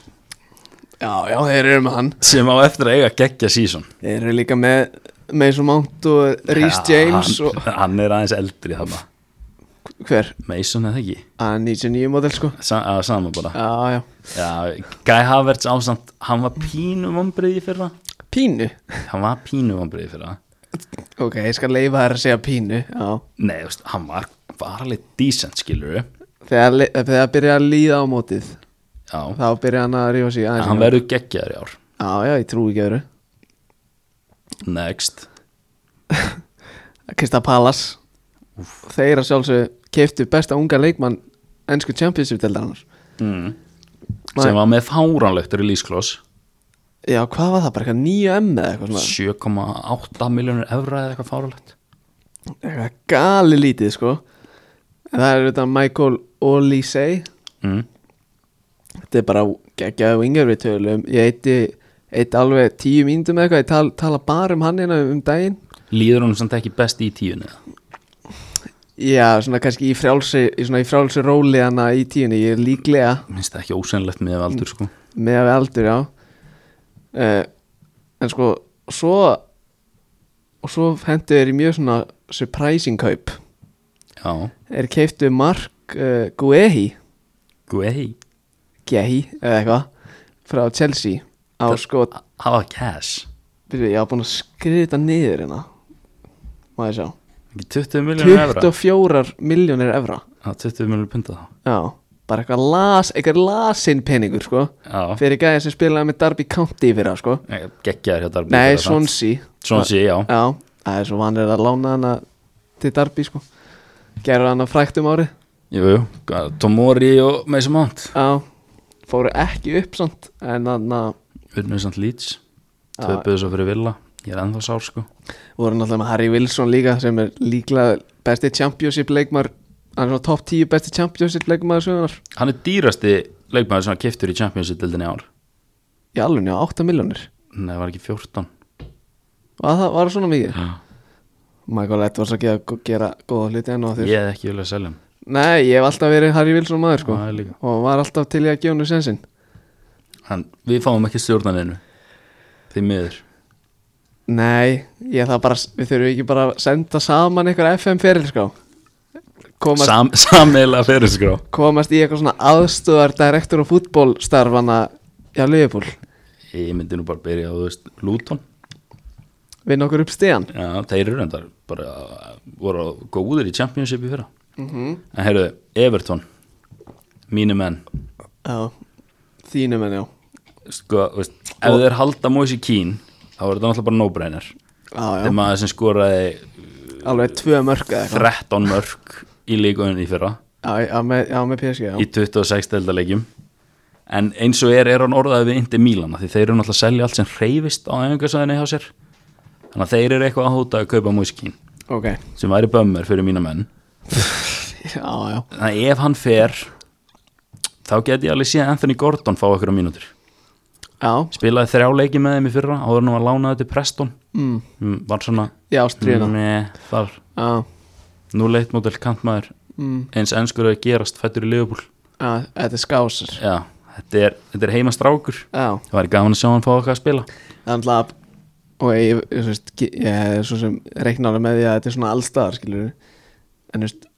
S1: Já, já, þeir eru með hann
S2: sem á eftir að eiga geggja sísón
S1: Þeir eru líka með Mason Mount og Rhys James
S2: hann,
S1: og
S2: hann er aðeins eldri þarna
S1: hver?
S2: Mason eða ekki,
S1: Að 99 mótel sko
S2: Sa að sama bara
S1: Já, já,
S2: já, Guy Havertz ásamt hann var pínu vombriði fyrra
S1: pínu
S2: hann var pínu vombriði fyrra
S1: Ok, ég skal leifa þær að segja pínu Já
S2: nei, þú veist, hann var, var alveg decent skilur
S1: Þegar, le- þegar það byrja að líða á mótið
S2: já,
S1: þá byrja hann að rífa sig
S2: En
S1: aðeins
S2: hann verður geggjaður í ár
S1: Já, já, ég trúi ekki öðru
S2: next
S1: Krista Palas Þeir að sjálfsög keiftu besta unga leikmann ennsku championship-deldarnar
S2: mm.
S1: Nei.
S2: sem var með fáránlegt release-kloss
S1: Já, hvað var það? Bara eitthvað 9M eða eitthvað svona
S2: 7,8 miljónur evra eða eitthvað fáránlegt
S1: Eitthvað gali lítið, sko En það er auðvitað Michael Olisei
S2: mm.
S1: Þetta er bara geggjaðu yngar við tölum Ég eitti, eitti alveg tíu mínútum eða eitthvað Ég tal, tala bara um hann hérna um daginn
S2: líður hún samt ekki best í tíunni eða?
S1: Já, svona kannski í frjálsi, í svona í frjálsi róli hana í tíunni Ég er líklega
S2: minnst það ekki ósennlegt með aldur
S1: Mm.
S2: sko
S1: með að við aldur, já uh, en sko svo og svo hendu þeir í mjög svona surprising kaup
S2: sko. já,
S1: er keiftu Mark uh, Guehi
S2: guði
S1: Gehi, eða eitthvað frá Chelsea á
S2: Það-
S1: sko,
S2: hafa cash
S1: byrju, ég á búin að skrifa þetta niður hérna má ég sjá
S2: ekki 20 miljónur evra
S1: 24 miljónir evra
S2: Já, 20 miljónur punta þá
S1: já, bara eitthvað las, eitthvað lasinn peningur sko,
S2: já,
S1: fyrir gæði sem spilaði með Darby County fyrir það sko,
S2: geggjaður hjá Darby
S1: nei, Swansea
S2: Svonsi, já,
S1: Já, það er svo vanir að lána hana til Darby sko Gerðu hana frækt um árið
S2: jú, jú hvað, Tomori og Mason Mount
S1: Já, fóru ekki upp samt En þannig að
S2: unnum samt Leeds
S1: Já.
S2: töpuðu svo fyrir Villa, ég er ennþá sár sko
S1: voru náttúrulega með Harry Wilson líka Sem er líklega besti championship leikmar Hann er svona topp 10 besti championship leikmar sögunar
S2: hann er dýrasti leikmaður sem hann keftur í Championship-dildinni ár
S1: Í alveg, 8 miljónir
S2: Nei, það var ekki 14
S1: Var það var það svona mikið?
S2: Já.
S1: Michael Edwards að gera, gera góða hluti enn á því
S2: Ég hef ekki viljað selja hann
S1: Nei, ég hef alltaf verið Harry Wilson maður sko
S2: Það er líka.
S1: Og var alltaf til ég að gefa hennu sensinn
S2: hann, Við fáum ekki stjórnaninu Því miður
S1: Nei, ég það bara, við þurfum ekki bara að senda saman einhver FM ferilskrá sko. komast,
S2: Sam, Sammeila ferilskrá
S1: komast í eitthvað svona aðstöðar direktur og fútbólstarfana hjá Liverpool,
S2: Ég myndi nú bara byrja á, þú veist, Luton
S1: vinna okkur upp stíðan
S2: Já, þeir eru endar bara voru góðir í Championship í fyrra En heyrðu, Everton Mínu menn
S1: Já, þínum en já
S2: sko, þú veist, Ef þeir halda Moise Keane þá er þetta náttúrulega bara no-brainer
S1: Já,
S2: Þetta er
S1: já,
S2: maður sem skoraði
S1: alveg tvö mörg eða eitthvað
S2: 13 mörg í líkaunni í fyrra
S1: Já, já, með, já, með PSG,
S2: í
S1: já
S2: 26 deildalegjum en eins og er er hann orðaði við Indi Mílana því þeir eru náttúrulega að selja allt sem reyfist á æfingasæðinni hjá sér þannig að þeir eru eitthvað að hóta að kaupa múskín
S1: Ok,
S2: sem væri bömmur fyrir mína menn
S1: já, já
S2: þannig að ef hann fer þá get ég alveg síðan Anthony Gordon fá okkur á mínútur
S1: Já,
S2: spilaði þrjá leiki með þeim í fyrra áður en hann var lánaði til Preston
S1: mm,
S2: Mm, var svona
S1: já, stríðina
S2: með þar
S1: Já,
S2: nú leitt mótel kantmaður
S1: mm,
S2: eins ennskur að gerast fættur í Liverpool
S1: já, þetta er skásar
S2: já, þetta er, þetta er heima strákur
S1: Já,
S2: það væri gaman að sjá hann fá okkar að spila
S1: þannig að og ég, ég, þú veist, ge- ég er svo sem reikna alveg með því að þetta er svona allstaðar skilur en þú veist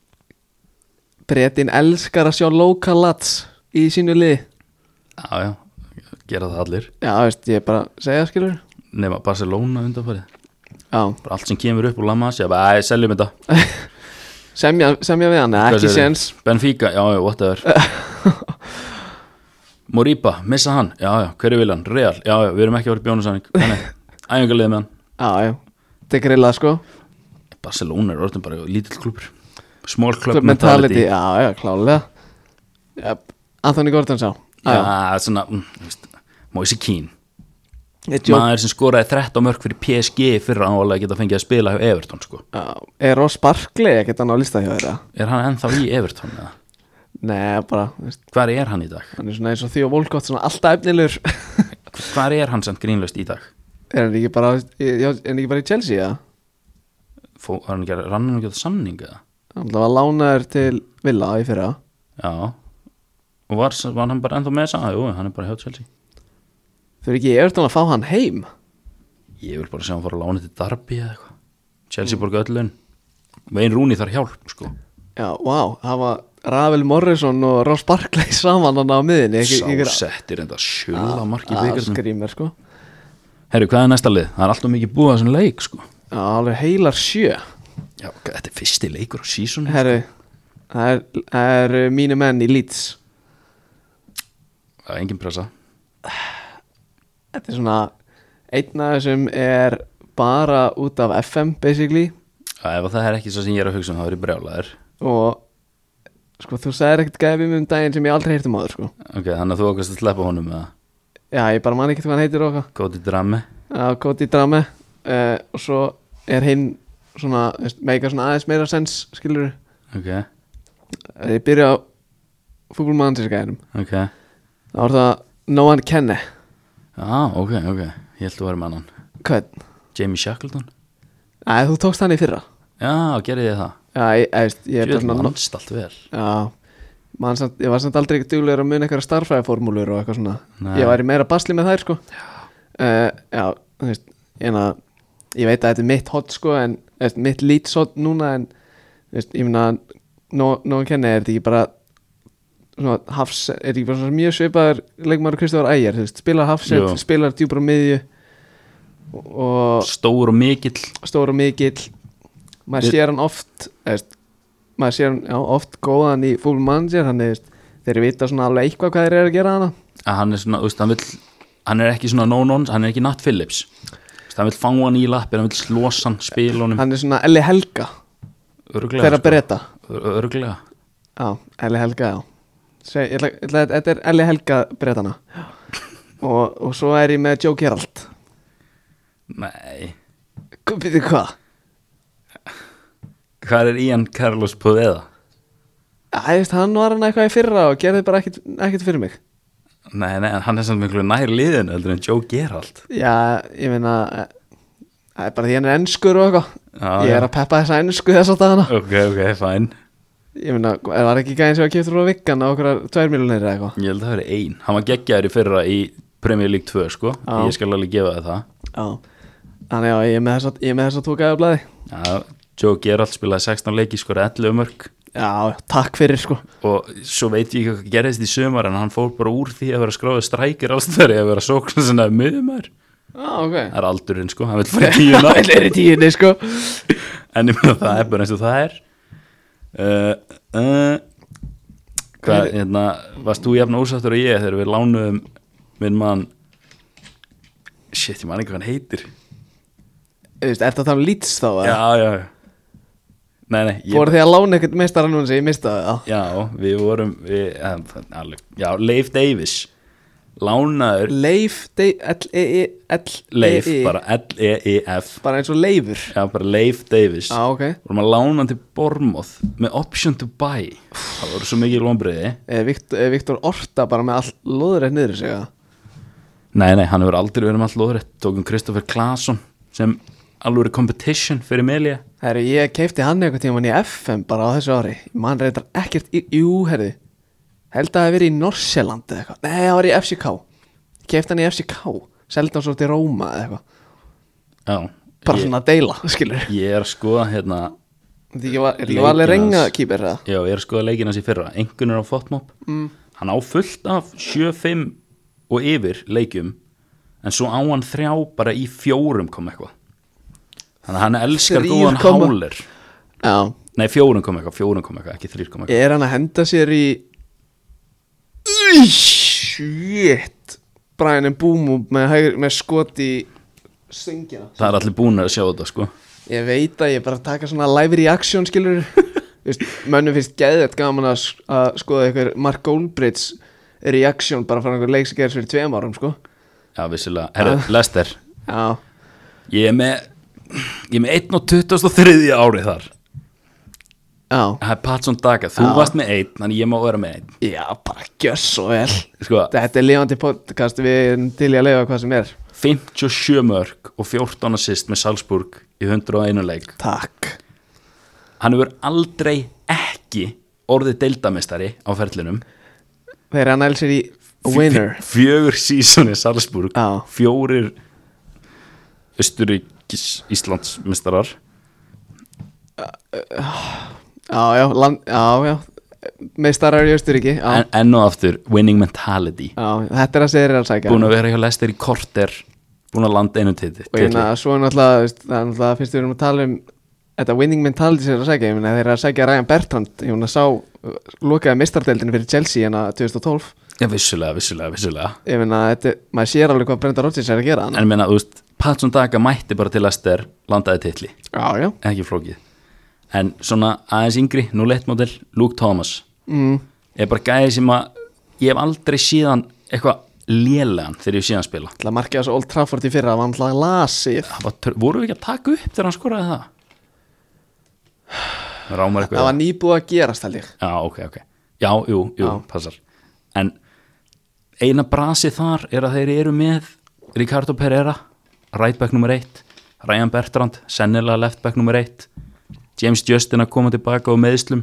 S1: breytin elskar að sjá local lads í sínu lið
S2: Já, já, gera það allir
S1: já, þú veist, ég er bara að segja skilur
S2: nema Barcelona undanfarið
S1: já,
S2: bara allt sem kemur upp úr Lamas ég bara, æ, seljum þetta
S1: semja, semja við hann Nei,
S2: Hvað
S1: ekki
S2: segirðu?
S1: séns
S2: Benfica, já, já, whatever Moriba, missa hann já, já, hverju vil hann, Real já, já, við erum ekki að vera bjónusanning æfingarlið með hann
S1: já, já, þetta er grillað sko
S2: Barcelona er orðin bara lítill klubur small club
S1: Club mentality,
S2: mentality já,
S1: já, já, klálega yep. Anthony Gordon sá já,
S2: svona, mm, þú veist, Moise Keane
S1: Eitt jobb.
S2: maður sem skoraði 13 mörg fyrir PSG fyrir að álega geta fengið að spila hjá Everton sko.
S1: Já, Er Ross Barkley ekkert hann á lista hjá þeirra?
S2: er hann ennþá í Everton eða?
S1: Nei, bara, þú veist,
S2: hvar er hann í dag?
S1: hann er svona eins og því og Volkott svona alltaf efnilegur
S2: hvar er hann samt grínlöst í dag?
S1: Er hann ekki bara, já, er hann ekki bara í Chelsea, já?
S2: Fó, var hann ekki að rann hann ekki að samninga það?
S1: Hann var lánaður til Villa í fyrra
S2: já og var, var hann bara ennþá með þess að jú, hann er bara hjá Chelsea
S1: Þau eru ekki í Everton að fá hann heim
S2: ég vil bara segja hann fór að lána til Darby eða eitthvað Chelsea mm. borga öllun Vein Rúni þarf hjálp sko
S1: Já, vá, það var Ravel Morrison og Ross Barkley saman hann á miðinni
S2: sásettir enda sjöla marki byggarnum
S1: Skrýmir, sko
S2: herru hvað er næsta lið? það er alltaf mikið búið að þessum leik sko
S1: Já, alveg heilar sjö
S2: já, þetta er fyrsti leikur á sísonu
S1: Herru, það er, það eru mínu menn í Leeds
S2: það er engin pressa
S1: Þetta er svona einn af þessum er bara út af FM basically
S2: Já, ef það er ekki svo sem ég er að hugsa um það er ég brjálæður
S1: og sko þú sagðir ekkert gæfi mig um daginn sem ég aldrei heyrti um áður sko
S2: ok, þannig að þú okkast að sleppa honum með það
S1: Já, ég bara man ekkert hvað hann heitir og okkar
S2: góti drami
S1: Já, Cody Drame uh, og svo er hinn svona, þú veist, meika svona aðeins meira sens skilur
S2: ok,
S1: ég byrja á fútbolmannsins
S2: ok já,
S1: þá er það Noan Kenne
S2: Ah, ok, ok ég held þú varum annan
S1: hvern?
S2: Jamie Shackleton
S1: Æ, þú tókst hann í fyrra
S2: já, gerði ég það
S1: Já, ég, ég, veist, ég er bara
S2: Jöfn,
S1: svona
S2: mannst allt vel
S1: Já, man samt, ég var samt aldrei ekki duglegur að muna eitthvað starfræðaformúlur og eitthvað svona
S2: Nei.
S1: Ég væri meira basli með þær sko Já, já þú veist, en að, ég veit að þetta er mitt hot sko en þú veist, mitt lítshot núna en þú veist, ég meina nóg nóg að kenna er þetta ekki bara svona, hafs, er þetta ekki bara svona mjög svipaður leikmaður Kristofar Ægir, þú veist, spilar hafsend
S2: Jú.
S1: spilar djúpar á miðju og
S2: stór og mikill
S1: stór og mikill maður
S2: Við-
S1: sér hann oft eðst, maður sér hann já, oft góðan í fútbol manager hann eðst, þeir vita svona alveg eitthvað hvað þeir eru að gera hana
S2: að hann er svona, þú veist, hann vil hann er ekki svona no-nons, hann er ekki Nat Phillips Þú veist, hann vil fanga hann í lappir, hann vil slosa hann spila honum, sko.
S1: hann er svona Elli Helga
S2: öruglega
S1: þeirra breyta
S2: öruglega,
S1: já, Elli Helga já Sve, ég, ætla, ég ætla, að- þetta er Elli Helga breytana og, og svo er ég með Joe Geralt
S2: nei
S1: býttu hvað?
S2: hvað er Ian Carlos Poveda?
S1: Æðist, hann var hann eitthvað í fyrra og gerði bara ekkert, ekkert fyrir mig
S2: nei, nei, en hann er samt miklu nær liðin heldur en Joe Gerald
S1: já, ég meina eh, það er bara því hann er ennskur og
S2: Já,
S1: eitthvað ég
S2: já.
S1: er að peppa þessa ennsku þess að dagana
S2: ok, ok, fæn
S1: Ég meina, er það ekki gæðin sem var kiptur úr vikkan á okkur tvær miljonir eða eitthvað?
S2: ég held að það verið ein, hann var geggjaður í fyrra í Premier League 2 sko,
S1: Já.
S2: ég skal alveg gefa þér það
S1: Já. Þannig já, ég er með þess að, ég er með þess að tóka eða blæði.
S2: Já, Joe Gerald spilaði 16 leiki skor 11 mörg
S1: Já, takk fyrir sko.
S2: og svo veit ég ekki hvað gerðist í sumar en hann fór bara úr því að vera skráðið strækir allstæri að vera sóknar sem það er miðumar
S1: Já, ok.
S2: það er aldurinn sko, hann vil fara í tíuna
S1: Það er í tíinni sko.
S2: en ég meina það er bara eins og það er uh, uh, hvað, hérna varst þú jafn ósáttur og ég þegar við lánuðum minn mann shit, ég man ekki hvað hann heitir
S1: Þú veist, eftir að það lýts þá að.
S2: já, já, já nei, nei, ég
S1: Fóru því að lána ekkert meistara núna sem ég mistaði það.
S2: Já, við vorum við, eh, það- alveg, Já, Leif Davis Lánaður
S1: Leif, E, Dei- L-E-I, L-E-I.
S2: Leif, bara L-E-E-F
S1: E. Bara eins og leifur.
S2: Já, bara Leif Davis
S1: Já, ok.
S2: Vorum að lána hann til Bormoth með option to buy Það voru svo mikið lombriði
S1: Eh, Viktor, eh, Viktor Orta bara með allt loðrætt niður sig að.
S2: Nei, nei, hann hefur aldrei verið með allt lóðrætt Tókum Kristoffer Klaasson sem alveg competition fyrir Melia
S1: Herru, ég keipti hann einhvern tímann í FM bara á þessu ári Man reyndar ekkert, í, jú, herru Held að það hef verið í Norsjaland eða eitthvað Nei, það var í FCK Ég keipti hann í FCK Seldi hann svo til Róma eða eitthvað
S2: Já,
S1: Bara
S2: ég,
S1: svona að deila, skilur
S2: ég er að skoða hérna
S1: Þetta ekki var, er þetta ekki valið
S2: Leikinn
S1: renga
S2: hans.
S1: kýpir það
S2: Já, ég er að skoða leikin hans í fyrra Engunur á Fotmop mm. Hann á fullt af 7-5 og yfir leikjum En svo á hann þrjá bara í fjórum kom eitthvað Þannig að hann elskar
S1: Þrír
S2: góðan
S1: koma-
S2: háler
S1: Já,
S2: Nei, fjórum kom eitthvað, fjórum kom eitthvað, ekki þrýr kom eitthvað
S1: er hann að henda sér í Í, Shit Brian and Boom með, hægri- með skot í Sengina
S2: Það er allir búin að sjá þetta, sko
S1: Ég veit að ég er bara að taka svona live reaction skilur Vist, Mönnum finnst geðið gaman að, s- að skoða einhver Mark Goldbridge reaction bara frá einhver leik sem gerðist fyrir tveim árum sko
S2: já, vissulega, herru, Lester
S1: Já,
S2: ég er með ég er með 1 og 23 árið þar
S1: já,
S2: það er Patson Daga, þú
S1: Já.
S2: varst með 1 þannig ég má vera með
S1: já, bara gjör svo vel
S2: 1 sko,
S1: Þetta er lifandi podcast, við erum til í að leifa hvað sem er
S2: 57 mörg og 14 assist með Salzburg í 101 leik
S1: Takk
S2: hann hefur aldrei ekki orðið deildamestari á ferlinum
S1: Þeir er annælsir í
S2: Fjö-
S1: winner
S2: fjögur sísoni Salzburg
S1: Já.
S2: fjórir Östuríkis Íslandsmestarar
S1: Já, já, land, já, já Meistarar í Östuríki já,
S2: en, enn og aftur winning mentality
S1: já, þetta er að segja þér að sækja
S2: búin að vera hjá Lester í korter búin að landa einu titli
S1: Og hérna- ég meina, svo er náttúrulega, þú veist, það er náttúrulega fyrst við erum að tala um Þetta winning mentality sem er að sækja Ég meina, þeir eru að sækja Ryan Bertrand Ég meina, sá, uh, lokaði meistardeldinu fyrir Chelsea hérna 2012
S2: já vissulega, vissulega, vissulega
S1: Ég meina, þetta, er- maður sér alveg hvað Brenda Rodgers er að gera hann
S2: en ég meina, þú veist, Patson Daga mætti bara til Lester landaði titli,
S1: Já, já
S2: ekki flókið en svona aðeins yngri, nú leittmódel Luke Thomas
S1: mm,
S2: er bara gæði sem að ég hef aldrei síðan eitthvað lélegan þegar ég síðan spila
S1: Það markið þessu Old Trafford í fyrra Það var náttúrulega lasið
S2: Það var tör- voru við ekki að taka upp þegar hann skoraði það? Mig Rámar eitthvað
S1: Það var nýbúið að gerast, held ég
S2: Já, ok, ok Já, jú, jú,
S1: Já.
S2: passar En eina brasi þar er að þeir eru með Ricardo Pereira, right back nummer 1 Ryan Bertrand, sennilega left back nummer 1 James Justin að koma tilbaka á meðslum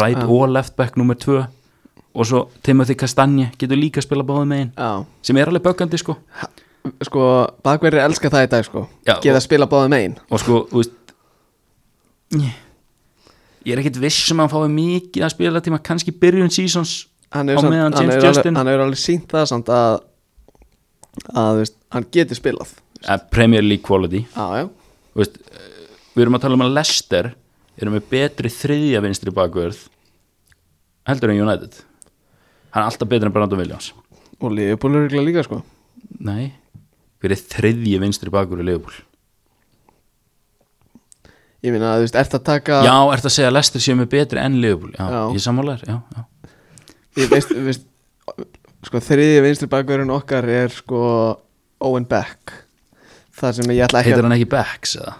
S2: right og left back nummer 2 og svo Timothy Castagne getur líka að spila báðum megin
S1: Já
S2: sem er alveg böggandi sko
S1: sko, bakverðir elska það í dag sko
S2: Já,
S1: geta
S2: og-
S1: að spila báðum einn
S2: og sko, þú veist ég er ekkit viss sem að hann fái mikið að spila tíma kannski byrjun seasons
S1: hann hefur
S2: á
S1: samt-
S2: meðan
S1: hann
S2: James
S1: hefur alveg,
S2: Justin
S1: hann hefur alveg sínt það samt að að þú veist, hann getur spilað
S2: Eh, Premier League quality
S1: já, já,
S2: Þú veist, eh, við erum að tala um að Leicester erum við betri þriðja vinstri bakvörð heldur en United hann er alltaf betri en Brandon Williams
S1: og Liverpool er örugglega líka sko
S2: nei, hver er þriðja vinstri bakvörð í Leopold
S1: ég meina, þú veist, ert að taka
S2: já, ertu að segja að Leicester séu með betri en Leopold já,
S1: Ah. Já.
S2: ég sammálar, já, já
S1: ég veist, þú veist sko, þriði vinstri bakverðin okkar er sko Owen Beck það sem ég ætla ekki
S2: heitir hann ekki Becks eða?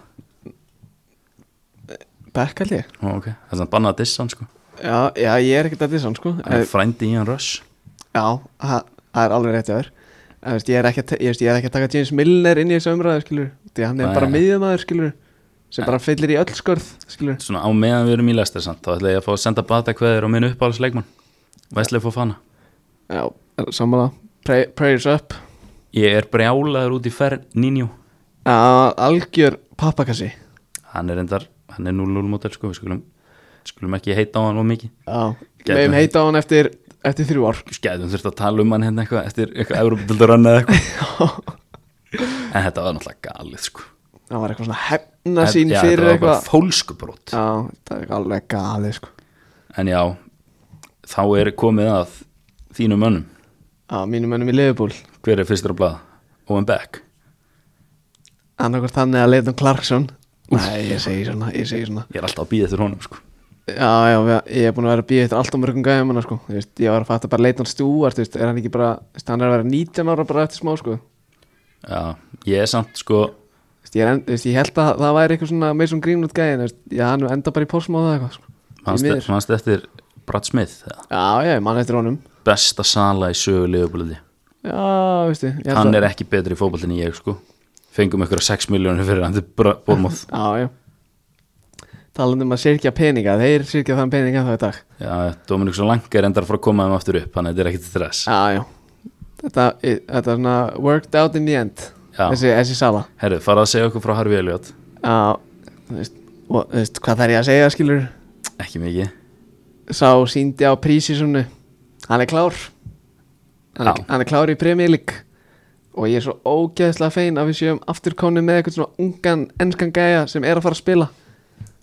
S1: að Beck held ég
S2: Ó, ok, það er svona bannað að dissa hann sko
S1: já, já, ég er ekkert að dissan sko
S2: hann
S1: Eh,
S2: er frændi í hann Rush
S1: Já, það það er alveg rétt að vera En, veist, ég, er ekki að, te- ég, veist, ég er ekki að taka James Milner inn í þessu umræðu skilur Því að hann er
S2: Nei. Eh.
S1: bara miðjumæður skilur Sem bara fyllir í öll skörð skilur
S2: svona á meðan við erum í Leicester samt þá ætla ég að fá að senda bata kveður á minn uppáhaldsleikmann Wesley Fofana
S1: Já, sammála Pray, Prayers up
S2: ég er brjálaður út í ferð Ninju
S1: Já, algjör pappakassi
S2: hann er endar, hann er 0-0 mótel sko, við skulum, skulum ekki heita á hann og mikið
S1: Já,
S2: Gæti
S1: meðum
S2: verið.
S1: heita á hann eftir, eftir þrjú ár
S2: skæðum þurft að tala um hann hérna eitthvað eftir eitthvað Európa-dildarann eða eitthvað en þetta var náttúrulega galið sko
S1: Það var eitthvað svona hefna
S2: Þetta-
S1: sín
S2: já,
S1: fyrir
S2: þetta var bara
S1: eitthvað
S2: fólskubrót
S1: Já, það er alveg galið sko
S2: en já, þá er komið að þínum mönnum
S1: Já, mínum önum í Liverpool
S2: hver er fyrstur á blað, Owen Beck
S1: Annarkvort þannig að leitum Clarkson Nei, ég segi svona, ég segi svona
S2: ég er alltaf að býða eftir honum sko
S1: Já, já, við- ég er búin að vera að býja eftir alltaf mörgum gæðum hana, sko. Þú veist, ég var að fatta bara leitan stúart, veist, er hann ekki bara, þú veist, hann er að vera 19 ára bara eftir smá, sko. Þú
S2: já, ég er samt sko
S1: Veist, ég, er en, þú veist, ég held að það væri eitthvað svona með svona grínlund gæðin, veist, já, hann enda bara í pórsmáða eða eitthvað, sko. Í miður.
S2: Manst, manst eftir Brad Smith eða?
S1: Já, já, mann eftir honum.
S2: besta sala í sögu liðbúliði
S1: Já, veistu, ég held
S2: hann
S1: að.
S2: er ekki betri í fótboltin en ég sko fengum ykkur 6 miljónir fyrir hann til bórmóð
S1: Já, já. Talandi um að sirkja peninga, þeir sirkja þann peninga þá í dag.
S2: Dominik Solanka er endar frá að koma þeim aftur upp þannig að þetta er ekkit stress
S1: Já, já. Þetta, ég- þetta er svona worked out in the end,
S2: Já.
S1: þessi, þessi sala.
S2: herru, farað að segja okkur frá Harfi Elliot
S1: Já, þú veist, og, þú veist, hvað þarf ég að segja, skilur?
S2: ekki mikið,
S1: sá síndi á prísísunni hann er klár hann er,
S2: Já.
S1: hann er klár í premjölík og ég er svo ógeðslega fein að við séum aftur konum með eitthvað svona ungan enskan gæja sem er að fara að spila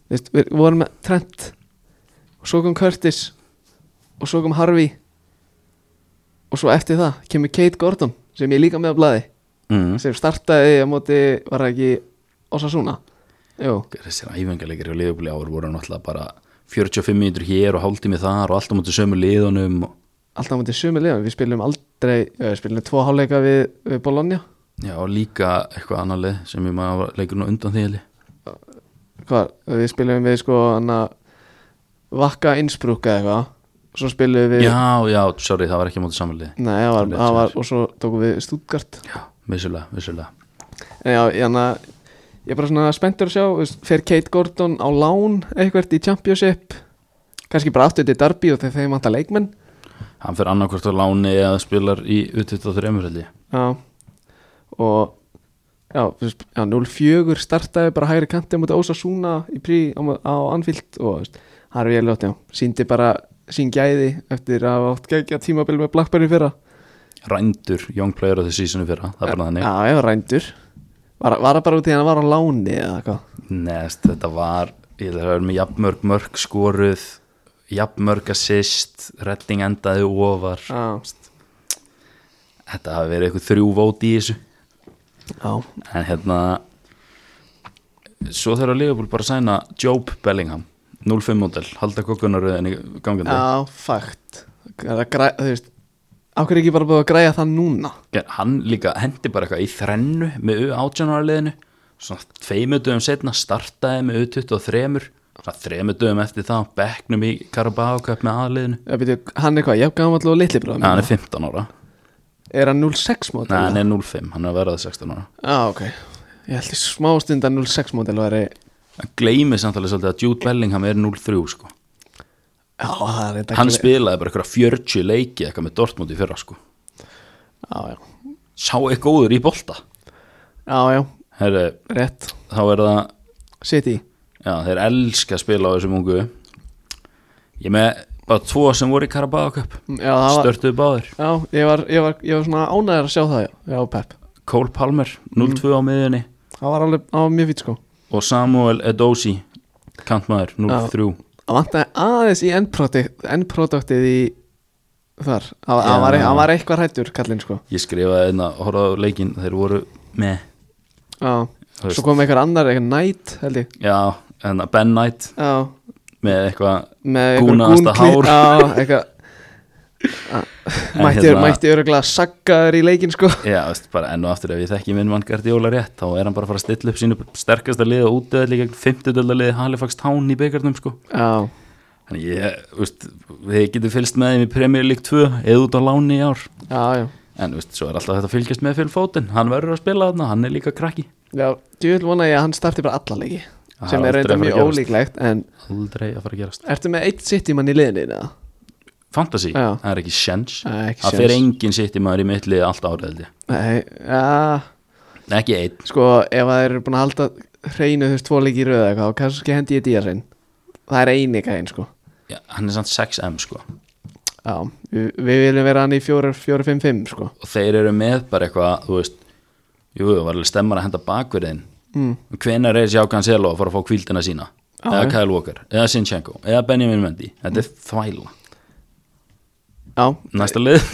S1: Þú veist, við vorum með Trent og svo kom Curtis og svo kom Harvey og svo eftir það kemur Kate Gordon sem ég er líka með á blaði
S2: mm.
S1: sem startaði á móti var það ekki Osasuna Jú,
S2: þessir æfingarleikir hjá liðbúli ár voru náttúrulega bara 45 mínútur hér og hálftími þar og allt á móti sömu liðunum og
S1: alltaf á mútið sömu liðan Við spilum aldrei, já, við spilum tvo hálfleika við, við Bologna
S2: Já, og líka eitthvað annar lið sem ég maður var leikur nú undan því heli.
S1: Hvar, við spilum við sko hana, Vakka Innsbruck eða eitthvað Svo spilum við
S2: Já, já, sorry, það var ekki mótið samanlið
S1: Nei, það var,
S2: Rétt
S1: það var,
S2: hjá
S1: og svo tókum við Stuttgart
S2: Já, vissulega, vissulega
S1: En já, ég, hana, ég er bara svona spenntur að sjá þú veist, Fer Kate Gordon á lán eitthvað í Championship kannski bara aftur til Darby og þegar þeim vantar leikmenn
S2: Hann fyrir annarkvort á láni eða spilar í U23 held ég.
S1: Já Og Já, þú veist, já 04 startaði bara hægri kanti á móti Ósasúna í prí á, mó- á Anfield og þú veist, það er vel ljótt, já, síndi bara sín gæði eftir að hafa átt gækja tímabil með Blackberry í fyrra
S2: Rændur Young Player of the Season í fyrra, það er bara þannig
S1: Já, ég var rændur Var, var það bara út í að hann var á láni eða hvað
S2: Nest, þetta var ég ætla að vera með jafnmörg mörg skoruð jafnmörg assist redding endaði ofar
S1: Já,
S2: þetta hafi verið eitthvað þrjú vót í þessu
S1: já,
S2: en hérna svo þegar Leopold bara að sæna Job Bellingham 05 model, halda kokkunaröðin í gangandi
S1: já fakt Það er að græ- Þú veist, á hverju ekki bara búið að græja það núna
S2: Gerð- hann líka hendi bara eitthvað í þrennu með U18 liðinu svona tveimu dögum setna startaði með U23 svona þremu dögum eftir það bekknum í Carabao Cup með aðliðinu
S1: Já, byrju, Hann er hvað, ég gaf alltaf litli bróðum
S2: hann er 15 ára
S1: Er hann 06 mót?
S2: Nei, hann er 05, hann er að verða 16 ára
S1: Já, ok Ég held í smástund að 06 mótil væri
S2: Hann gleymið samtalið svolítið að Jude Bellingham er 03 sko
S1: Já, það er þetta
S2: Hann spilaði bara eitthvað 40 leiki eitthvað með Dortmund í fyrra sko
S1: Já, já,
S2: Sá eitthvað góður í bolta
S1: já, já,
S2: Herre,
S1: rétt
S2: Þá er það
S1: City
S2: Já, þeir elska að spila á þessum ungu Ég er með bara tvo sem voru í Carabao Cup
S1: Já, það var
S2: Störtuðu báðir
S1: Já, ég var, ég var, ég var svona ánæður að sjá það, já, já, Pep
S2: Cole Palmer, 0-2 á miðunni
S1: Það var alveg, það var mjög fýtt sko
S2: Og Samuel Edosi Kantmaður, 0-3
S1: Það vantaði aðeins í endproduct- endproduktið í þar Það það
S2: Já.
S1: var, það var eitthvað hættur, kallinn sko
S2: Ég skrifaði einna, horfði á leikin Þeir voru með
S1: Já,
S2: Þú veist.
S1: svo kom einhver annar, einhver nætt, held ég
S2: Já, en Ben Knight
S1: Já,
S2: með eitthvað
S1: með einhver
S2: Gúnaðasta
S1: gúnkli-
S2: hár.
S1: Já, eitthvað
S2: En
S1: Mætti,
S2: hérna-
S1: mætti öruglega saggaður í leikinn sko
S2: Já, veist, bara enn og aftur ef ég þekki minn mann Gardiola rétt þá er hann bara að fara að stilla upp sínu sterkasta lið og útöðli gegn 50 lið Halifax Town í byggarnum sko
S1: Já,
S2: Þannig ég, veist, við getum fylgst með þeim í Premier League 2 eða út á láni í ár
S1: já, já
S2: en veist, svo er alltaf þetta að fylgjast með fyrir fótinn hann verður að spila þarna, hann er líka krakki
S1: Já, ég vil vona ég að hann starti bara alla leiki
S2: Það
S1: sem
S2: er
S1: er
S2: aldrei
S1: reynda
S2: að fara að
S1: mjög
S2: gerast.
S1: ólíklegt en
S2: aldrei að fara að gerast
S1: ertu með eitt sitt í mann í liðinni eða?
S2: Fantasy,
S1: Já.
S2: það er ekki sjens
S1: Nei, ekki
S2: það
S1: séns.
S2: fer enginn sitt í maður í mitt lið allt árið held ég.
S1: Nei, ja,
S2: Nei, ekki einn
S1: sko ef að þeir eru búin að halda hreinu þú veist tvo leiki í röða eitthvað og kannski hendi ég dýjar hrein það er eini gæðin sko
S2: Já, hann er samt 6M sko
S1: Já, við, við viljum vera hann í 4-5-5 sko
S2: og þeir eru með bara eitthvað þú veist, jú, það var alveg stemmar að henda bakverðin mm. hvenar er sjá Cancelo að fara að fá kvíldina sína eða Kyle Walker, eða Sinchenko, eða Benjamin Mendy þetta er þvæla
S1: Já,
S2: næsta lið,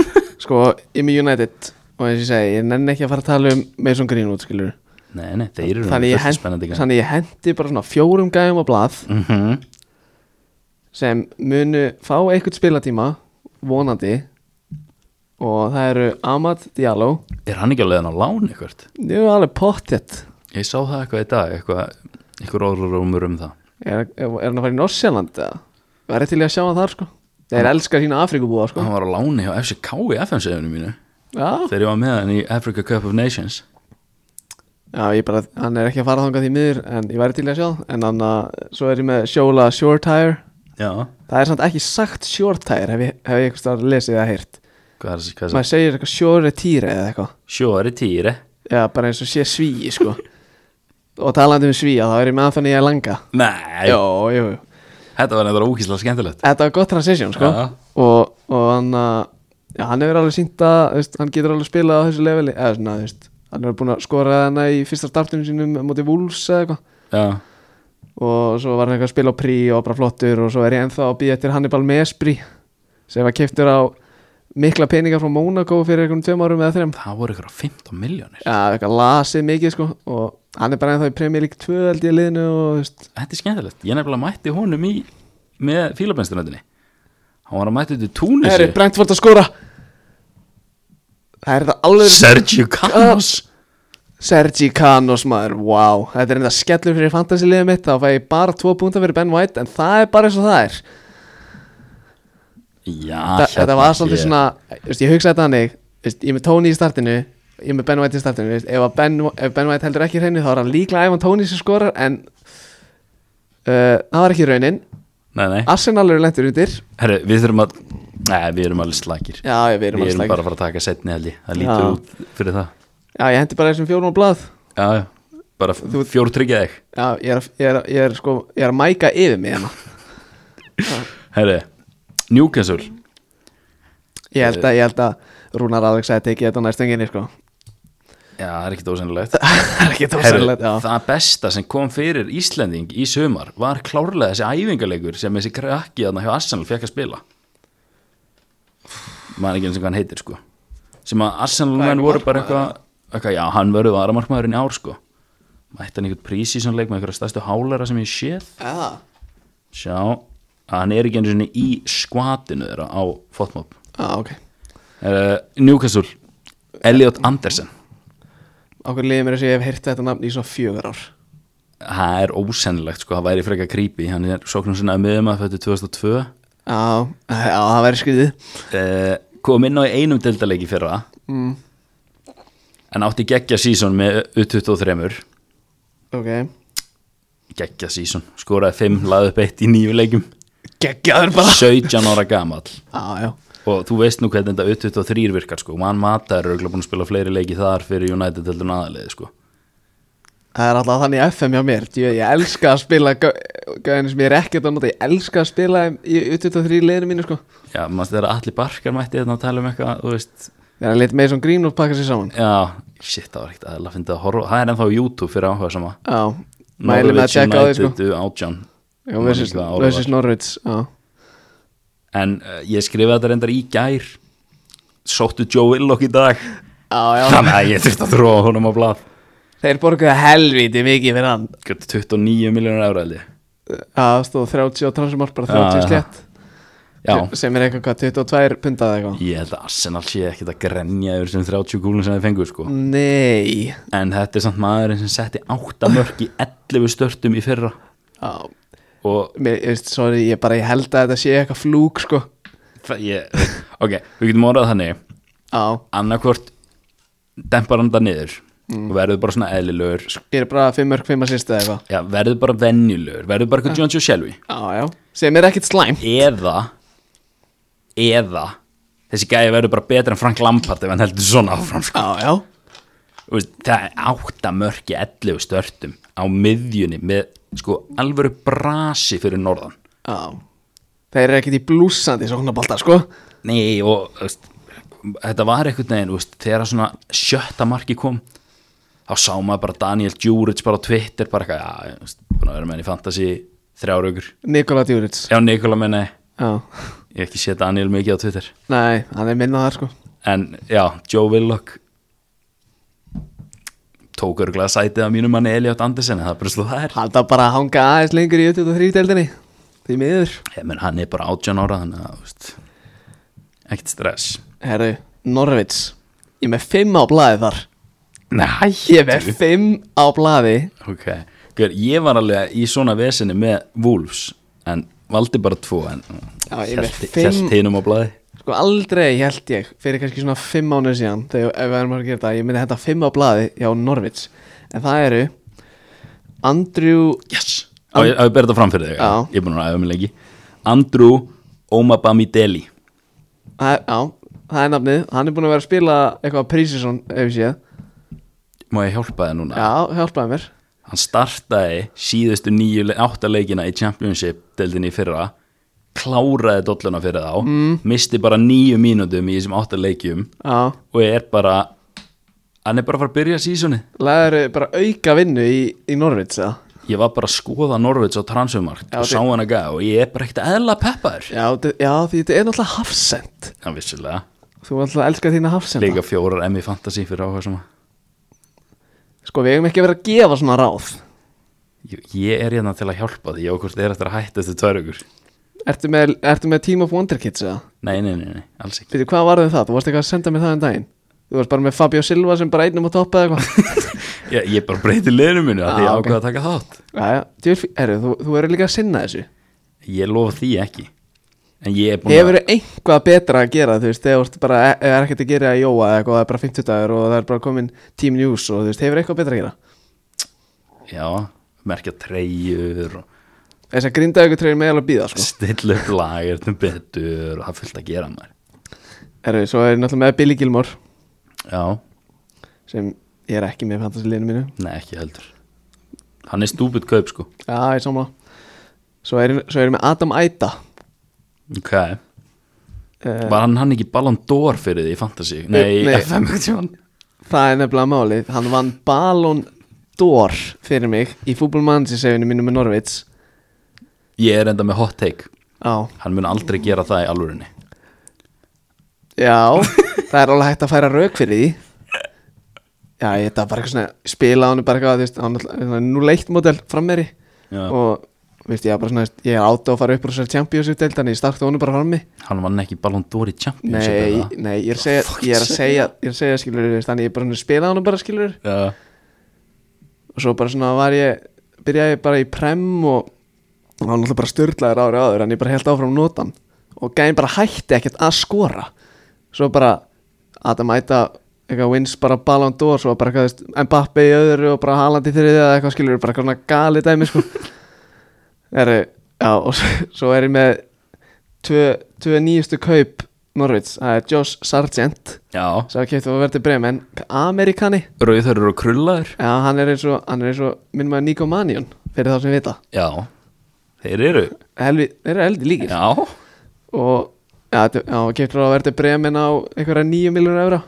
S1: sko ég er með United og eins og ég segi, ég nenni ekki að fara að tala um Mason Greenwood skilur
S2: nei, nei, þeir eru
S1: þannig ég,
S2: fullt
S1: hent,
S2: spennandi gæjar.
S1: þannig ég hendi bara svona fjórum gæðum á blað
S2: Mhm.
S1: sem munu fá einhvern spilatíma vonandi og það eru Amad Diallo
S2: er hann ekki alveg hann á lán eitthvað
S1: ég er alveg pottjett
S2: ég sá það eitthvað í dag eitthvað, eitthvað orðrúmur um það
S1: er, er er hann að fara í Norsjaland eða? Var ég til í að sjá hann þar sko þeir elskar sína Afrikubúa sko
S2: hann var á láni hjá FCK í FM-seðunum mínu
S1: já,
S2: þegar ég var með hann í Africa Cup of Nations
S1: já ég bara, hann er ekki að fara þangað því miður en ég væri til í að sjá það. en hann að, svo er ég með Sjóla Shortire
S2: já,
S1: það er samt ekki sagt Shortire hef ég, hef ég eitthvað starf lesið eða heyrt
S2: hvað er það
S1: maður segir eitthvað Shortire eða eitthvað
S2: sjóri týri
S1: Já, bara eins og sé svíi, sko Og talandi um svíja, þá er ég með að þannig að langa
S2: nei,
S1: Jó, jú, jú
S2: þetta var nefnilega ókíslega skemmtilegt
S1: Þetta var gott transition, sko
S2: Já.
S1: Og, og hann, að- já, hann hefur alveg sínt að þú veist, Hann getur alveg spilað á þessu leveli Eða svona, þú veist Hann hefur búin að skora hana í fyrsta startinu sínum Móti Wolves eða eitthvað
S2: já
S1: Og svo var hann eitthvað að spila á Prí og bara flottur Og svo er ég ennþá að býja eftir Hannibal Mesbri Sem var keftur á mikla peninga frá Monaco Fyrir einhvern tveim árum eða þreim
S2: það voru ykkur á 15 miljónir
S1: Já, eitthvað lasið mikið sko og hann er bara ennþá í Premier League 2 held ég í liðinu og þú veist,
S2: þetta er skemmtilegt, ég nefnilega mætti honum í með fílabenstunöndinni hann hann var að mæta þetta túnis
S1: Herri, Brentford að skora Það er það alveg Ah,
S2: Sergio Canos
S1: Sergi Canos maður, wow Þetta er enda skellur fyrir fantasiliðið mitt Þá fæ ég bara tvo púnta fyrir Ben White En það er bara eins og það er
S2: já,
S1: Þa, Þetta var svolítið
S2: Ah, hérna, ég-
S1: svona þú veist, Ég hugsaði þetta hannig Ég er með Tony í startinu Ég er með Ben White í startinu þú veist, ef, að ben, ef ben White heldur ekki hreinu Þá er hann líklega æfann Tony sem skorar En uh, það var ekki raunin
S2: nei, nei.
S1: Arsenal eru lentur undir
S2: Herri, við þurfum að nei, við erum alveg slakir
S1: Já, ég, við erum
S2: við
S1: alveg
S2: erum bara
S1: slækir
S2: að fara að taka setni held ég það
S1: Já.
S2: lítur út fyrir það
S1: Já, ég hendi bara þessum fjórum á blað
S2: já, já, bara
S1: Þú-
S2: fjór tryggja þig
S1: Já, ég er, að- ég er, að- ég er sko Ég er að mæka yfir mig hérna
S2: herri, Newcastle
S1: Ég held að, ég held að Rúnar Alex að tekið þetta á næstunginni sko
S2: já, það er ekkit ósennilegt
S1: Það er ekki
S2: Herri,
S1: tósarlegt Já,
S2: það besta sem kom fyrir Íslending í sömar var klárlega þessi æfingarleikur sem þessi krakki þarna hjá Arsenal fekk að spila maður ekki eins og hvað hann heitir sko sem að Arsenal menn voru bara eitthvað eitthvað, já, hann verður varamarkmaðurinn í ár sko mætti hann einhvern prísísanleik með einhverja stærstu hálara sem ég séð
S1: já.
S2: sjá, að hann er ekki eins og í skvatinu þeirra á fotmob
S1: já ok
S2: uh, Newcastle, Elliot Andersen
S1: Ákveð liðið mér þess að ég hef heyrt þetta nafn í svona fjögur ár
S2: það er ósennilegt sko, það væri frekar creepy hann er sóknum sinna að miðum að fættu 2002 uh,
S1: Já, já, það væri skriðið
S2: Eh, kom inn á í einum deildaleiki fyrra
S1: mm.
S2: en átti geggja sísón með U23
S1: Ok
S2: geggja sísón, skoraði 5 laði upp eitt í nýju leikum
S1: Geggjaður bara
S2: 17 ára gamall
S1: Já, já
S2: og þú veist nú hvernig þetta U23 virkar sko, mann matar eru búin að spila fleiri leiki þar fyrir United heldur en aðalegi sko
S1: Það er alltaf þannig í FM hjá mér Djö, Ég elska að spila Gauðin sem ég er ekkert að nota Ég elska að spila í U23 liðinu mínu sko
S2: Já, maður þegar Alli Barkar mætti þarna að tala um eitthvað, þú veist
S1: Þegar hann lit með svona grín og pakka sér saman
S2: Já, shit, það var ekkert aðeins að finna að horfa Það er ennþá á YouTube fyrir áhuga sama
S1: Já, mæli með að checka á því sko
S2: United átján
S1: Já, versus,
S2: Hvað ára
S1: versus Norvids Já,
S2: En uh, ég skrifaði þetta reyndar í gær Sóttu Joe Willock í dag
S1: já, já.
S2: Þannig að ég þurfti að þróa honum á blað
S1: Þeir borguðu helviti mikið fyrir hann
S2: Gjötu 29 miljónur euro held ég
S1: Það stóð 30 á transumar, bara 30
S2: Já, já.
S1: slétt
S2: Já,
S1: Sem er eitthvað hvað, 22 pundað eitthvað
S2: ég held að Arsenal sé ekkert að grenja yfir sem 30 kúlun sem þið fengur sko
S1: Nei
S2: En þetta er samt maðurinn sem setti 8 mörk í 11 störtum í fyrra
S1: Já,
S2: Og
S1: mér, ég veist, sorry, ég bara, ég held að þetta sé eitthvað flúk, sko
S2: það, ég, ok, við getum orðað þannig
S1: Já,
S2: annarkvort dempar hann það niður
S1: Mm.
S2: og verður bara svona eðlilegur
S1: gerir bara 5 mörg, 5 assist eða eitthvað
S2: já, verður bara venjulegur, verður
S1: Ah.
S2: bara eitthvað John Joe Shelby
S1: Já, já, sem er ekkit slæm
S2: eða eða þessi gæði verður bara betur en Frank Lampard ef hann heldur svona áfram sko.
S1: Já, já,
S2: Þú veist, það er átta mörki 11 störtum á miðjunni með sko alvöru brasi fyrir norðan
S1: já Þeir eru ekkit í blúsandi sóknabolta, sko
S2: nei og þú veist, þetta var einhvern veginn þú veist, þegar svona sjötta marki kom þá sá maður bara Daniel Djuric bara á Twitter bara eitthvað, já, þú veist, búin að vera með henni í fantasy þrjáraugur,
S1: Nikola Djuric
S2: já Nikola menna ég
S1: Já,
S2: hef ekki sé Daniel mikið á Twitter
S1: nei, hann er minnað þar, sko
S2: en já, Joe Willock tók örgulega sætið af mínum manni Elliot Andersen en það er bara slúð það er
S1: Hann það bara að hanga aðeins lengur í 23 deildinni Því miður
S2: ég, menn, hann er bara 18 ára þannig að þú veist, ekkert stress
S1: Herru, Norvits Ég er með 5 á blaði þar
S2: nei,
S1: Ég er með 5 á blaði
S2: Ok, Hver, ég var alveg í svona vesinni með Wolves en valdi bara tvo en
S1: Já, ég með
S2: hélt-
S1: fimm-
S2: hélt hinum á blaði
S1: Sko aldrei held ég fyrir kannski svona 5 mánuð síðan þegar ef við erum að gera þetta, ég myndi henda 5 á blaði hjá Norvits En það eru Andrew
S2: Yes Á ég að bera þetta fram fyrir þig
S1: Já.
S2: Ég er búin að æfa mig lengi Andrew Omabami Deli
S1: það er- Já, það er nafnið, hann er búin að vera að spila eitthvað prísisson ef ég séð
S2: Má ég hjálpa þig núna?
S1: Já, hjálpaði mér
S2: Hann startaði síðustu nýju, le- átta leikina í Championship deildinni í fyrra kláraði dolluna fyrir þá mm. misti bara nýju mínútum í þessum átta leikjum
S1: Já,
S2: og er bara hann er bara að fara að byrja sísoni
S1: laður bara auka vinnu í, í Norvits eða?
S2: ég var bara að skoða Norvits á transfermarkt
S1: Já,
S2: og
S1: þið-
S2: sá hann að gæða og ég er bara ekkert eðla peppaður
S1: Já, þe- já, því þetta er náttúrulega hafsend
S2: Já, vissulega,
S1: Þú er náttúrulega að elska þína hafsenda
S2: líka fjórar emmi fantasy fyrir áhuga sem
S1: Sko, við hefum ekki verið að gefa svona ráð
S2: ég, ég er hérna til að hjálpa því ég okkur er eftir að hætta þessu tvær ykkur
S1: Ertu með, ertu með Team of Wonder Kids eða?
S2: Nei, nei, nei, nei, alls ekki
S1: Fyrir hvað var þið það? Þú varst eitthvað að senda mér það en daginn Þú varst bara með Fabio Silva sem bara einum á toppa eða eitthvað
S2: Ég, ég bara breyti liðinu mínu að
S1: Ah,
S2: því ég
S1: ok.
S2: ákvað að taka þátt
S1: Jæja, djöfull- Herru, þú, þú eru líka að sinna þessu
S2: Ég lofa því ekki En ég er búin
S1: Hefur einhvað betra að gera þú veist, þegar þú ert bara, ef er ekkert að gera að jóa eða eitthvað, það er bara 50 dagur og það er bara komin Team News og þú veist, hefur eitthvað betra að gera
S2: að Já, merkja treyjur og
S1: Þess að grinda ykkur treyri með alveg að býða sko.
S2: stilla upp lager til betur og það er fullt að gera maður
S1: Herru, svo er ég náttúrulega með Billy Gilmore
S2: Já,
S1: sem ég er ekki með í fantasiliðinu mínu
S2: nei, ekki heldur Hann er stúbid kaup sko
S1: Já, ég er samla Svo er, ég- svo er ég með Adam Aida
S2: Ok,
S1: uh,
S2: var hann, hann ekki Ballon d'Or fyrir því, ég fant það sig Nei,
S1: nei.
S2: FM ekki hann
S1: Það er nefnilega málið Hann vann Ballon d'Or fyrir mig í fútbolmannsinsefinu mínu með Norvits
S2: Ég er enda með hot take
S1: Já,
S2: Hann mun aldrei gera það í alvörinni
S1: já Það er alveg hægt að færa rauk fyrir því Já, ég þetta bara eitthvað svona spila á hann bara eitthvað, þú veist, hann er náttúrulega nú leitt mótel frammeri
S2: Já,
S1: og veist, ég, er bara svona, ég er átt á að fara upp úr þessari Champions League deild, þannig ég starta honum bara frammi
S2: Hann vann ekki Ballon d'Or í Champions
S1: Nei, nei, ég er að segja, ég er að segja, ég er að segja skilur, þannig ég bara svona spila á hann bara skilur
S2: Já,
S1: og svo bara svona var ég byrjaði ég bara í prem og hann var náttúrulega bara störlaður ári áður en ég bara held áfram að nota hann og gæðin bara hætti ekkert að skora svo bara Adam Aita eitthvað wins bara Ballon d'Or svo bara eitthvað þú veist, Mbappe í öðru og bara Haaland í þriðið eða eitthvað skilur bara eitthvað svona gali dæmi sko er, já, og svo, svo er ég með tvö, tvö nýjustu kaup Norvits, það er Josh Sargent
S2: já
S1: sem kefti að verði breym en Amerikani
S2: Rauðhörur og krullaður
S1: Já, hann er eins og, hann er eins og minn maður Nico Manion, fyrir þá sem vita
S2: Já, þeir eru
S1: Helvi, þeir eru eldi líkir
S2: Já,
S1: og já, þetta- já, keftur á að verði bremin á einhverja 9 miljónu evra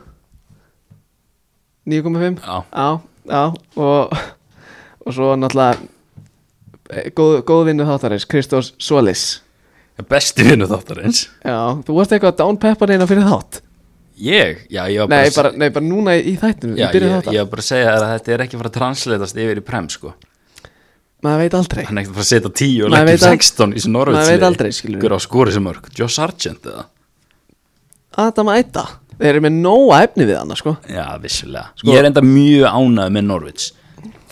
S1: 9,5
S2: já,
S1: Já, já, og og svo náttúrulega eh, góð, góð vinnu þáttarins, Kristós Solis
S2: besti vinnu þáttarins
S1: Já, þú varst eitthvað að downpeppa neina fyrir þátt
S2: Ég, já, ég var
S1: nei
S2: að-
S1: bara, nei, bara núna í, í þættinu, í
S2: já, ég,
S1: byrju
S2: ég
S1: þáttar
S2: var bara að segja þér að þetta er ekki að fara að transletast yfir í prem sko
S1: Maður veit aldrei
S2: Hann er ekki að fara að setja 10 og
S1: Maður
S2: leggjum
S1: veit al-
S2: 16 í þessu
S1: maður
S2: norveitsliði
S1: veit aldrei, skilurðu.
S2: Hver á skori sem mörg, Josh Sargent eða
S1: Adam Aita, þeir eru með nóa efni við hann, sko
S2: Já, vissulega Ég er enda mjög ánægð með Norvits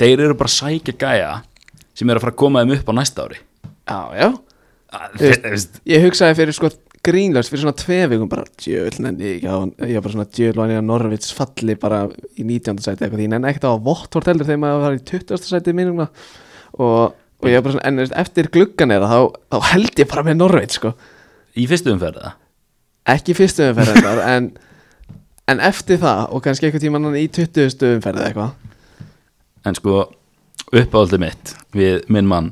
S2: Þeir eru bara að sækja gæja sem eru að fara að koma þeim upp á næsta ári
S1: Já, já
S2: Að-
S1: Þú veist-
S2: þeir- veist,
S1: Ég hugsaði fyrir sko grínlöst fyrir svona tvei vikum bara djöðl nenni ég ekki á ég var bara svona djöðl hann ég að Norvits falli bara í 19. sæti eitthvað því en ekkert á að Votvort heldur þegar maður var í 20. sæti minnum og, og ég var bara svona en þú veist, eftir gluggan er þá, þá held ég bara með Norvits sko
S2: Í fyrstu umferða
S1: ekki í fyrstu umferð endar en, en eftir það og kannski eitthvað tíma í 20. umferð eða eitthvað
S2: En sko, uppáhaldið mitt við minn mann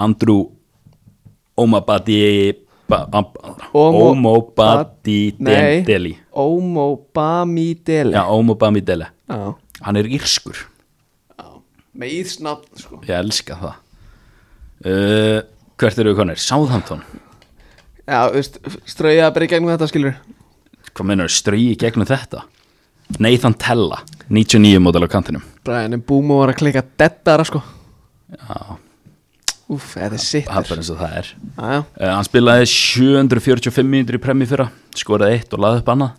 S2: Andrew Omabadi ba- am-
S1: Omo-
S2: Omobadi
S1: Nei.
S2: Deli
S1: Ómo Bami Dele
S2: Já, Omobami Deli
S1: Já.
S2: Hann er írskur,
S1: Já. með íðsnafn sko
S2: ég elska það uh, Hvert eru við konir? Southampton
S1: Já, þú veist, strauja bara í gegnum þetta skilur
S2: Hvað meinar, ströyi gegnum þetta? Nathan Tella, 99 módel á kantinum
S1: Brian en Búmo var að klika deadara sko
S2: Já,
S1: Úf, þetta er
S2: það er
S1: sittur
S2: eins og það er
S1: Aja,
S2: uh, Hann spilaði 745 mínútur í premji fyrra Skoraði eitt og laði upp annað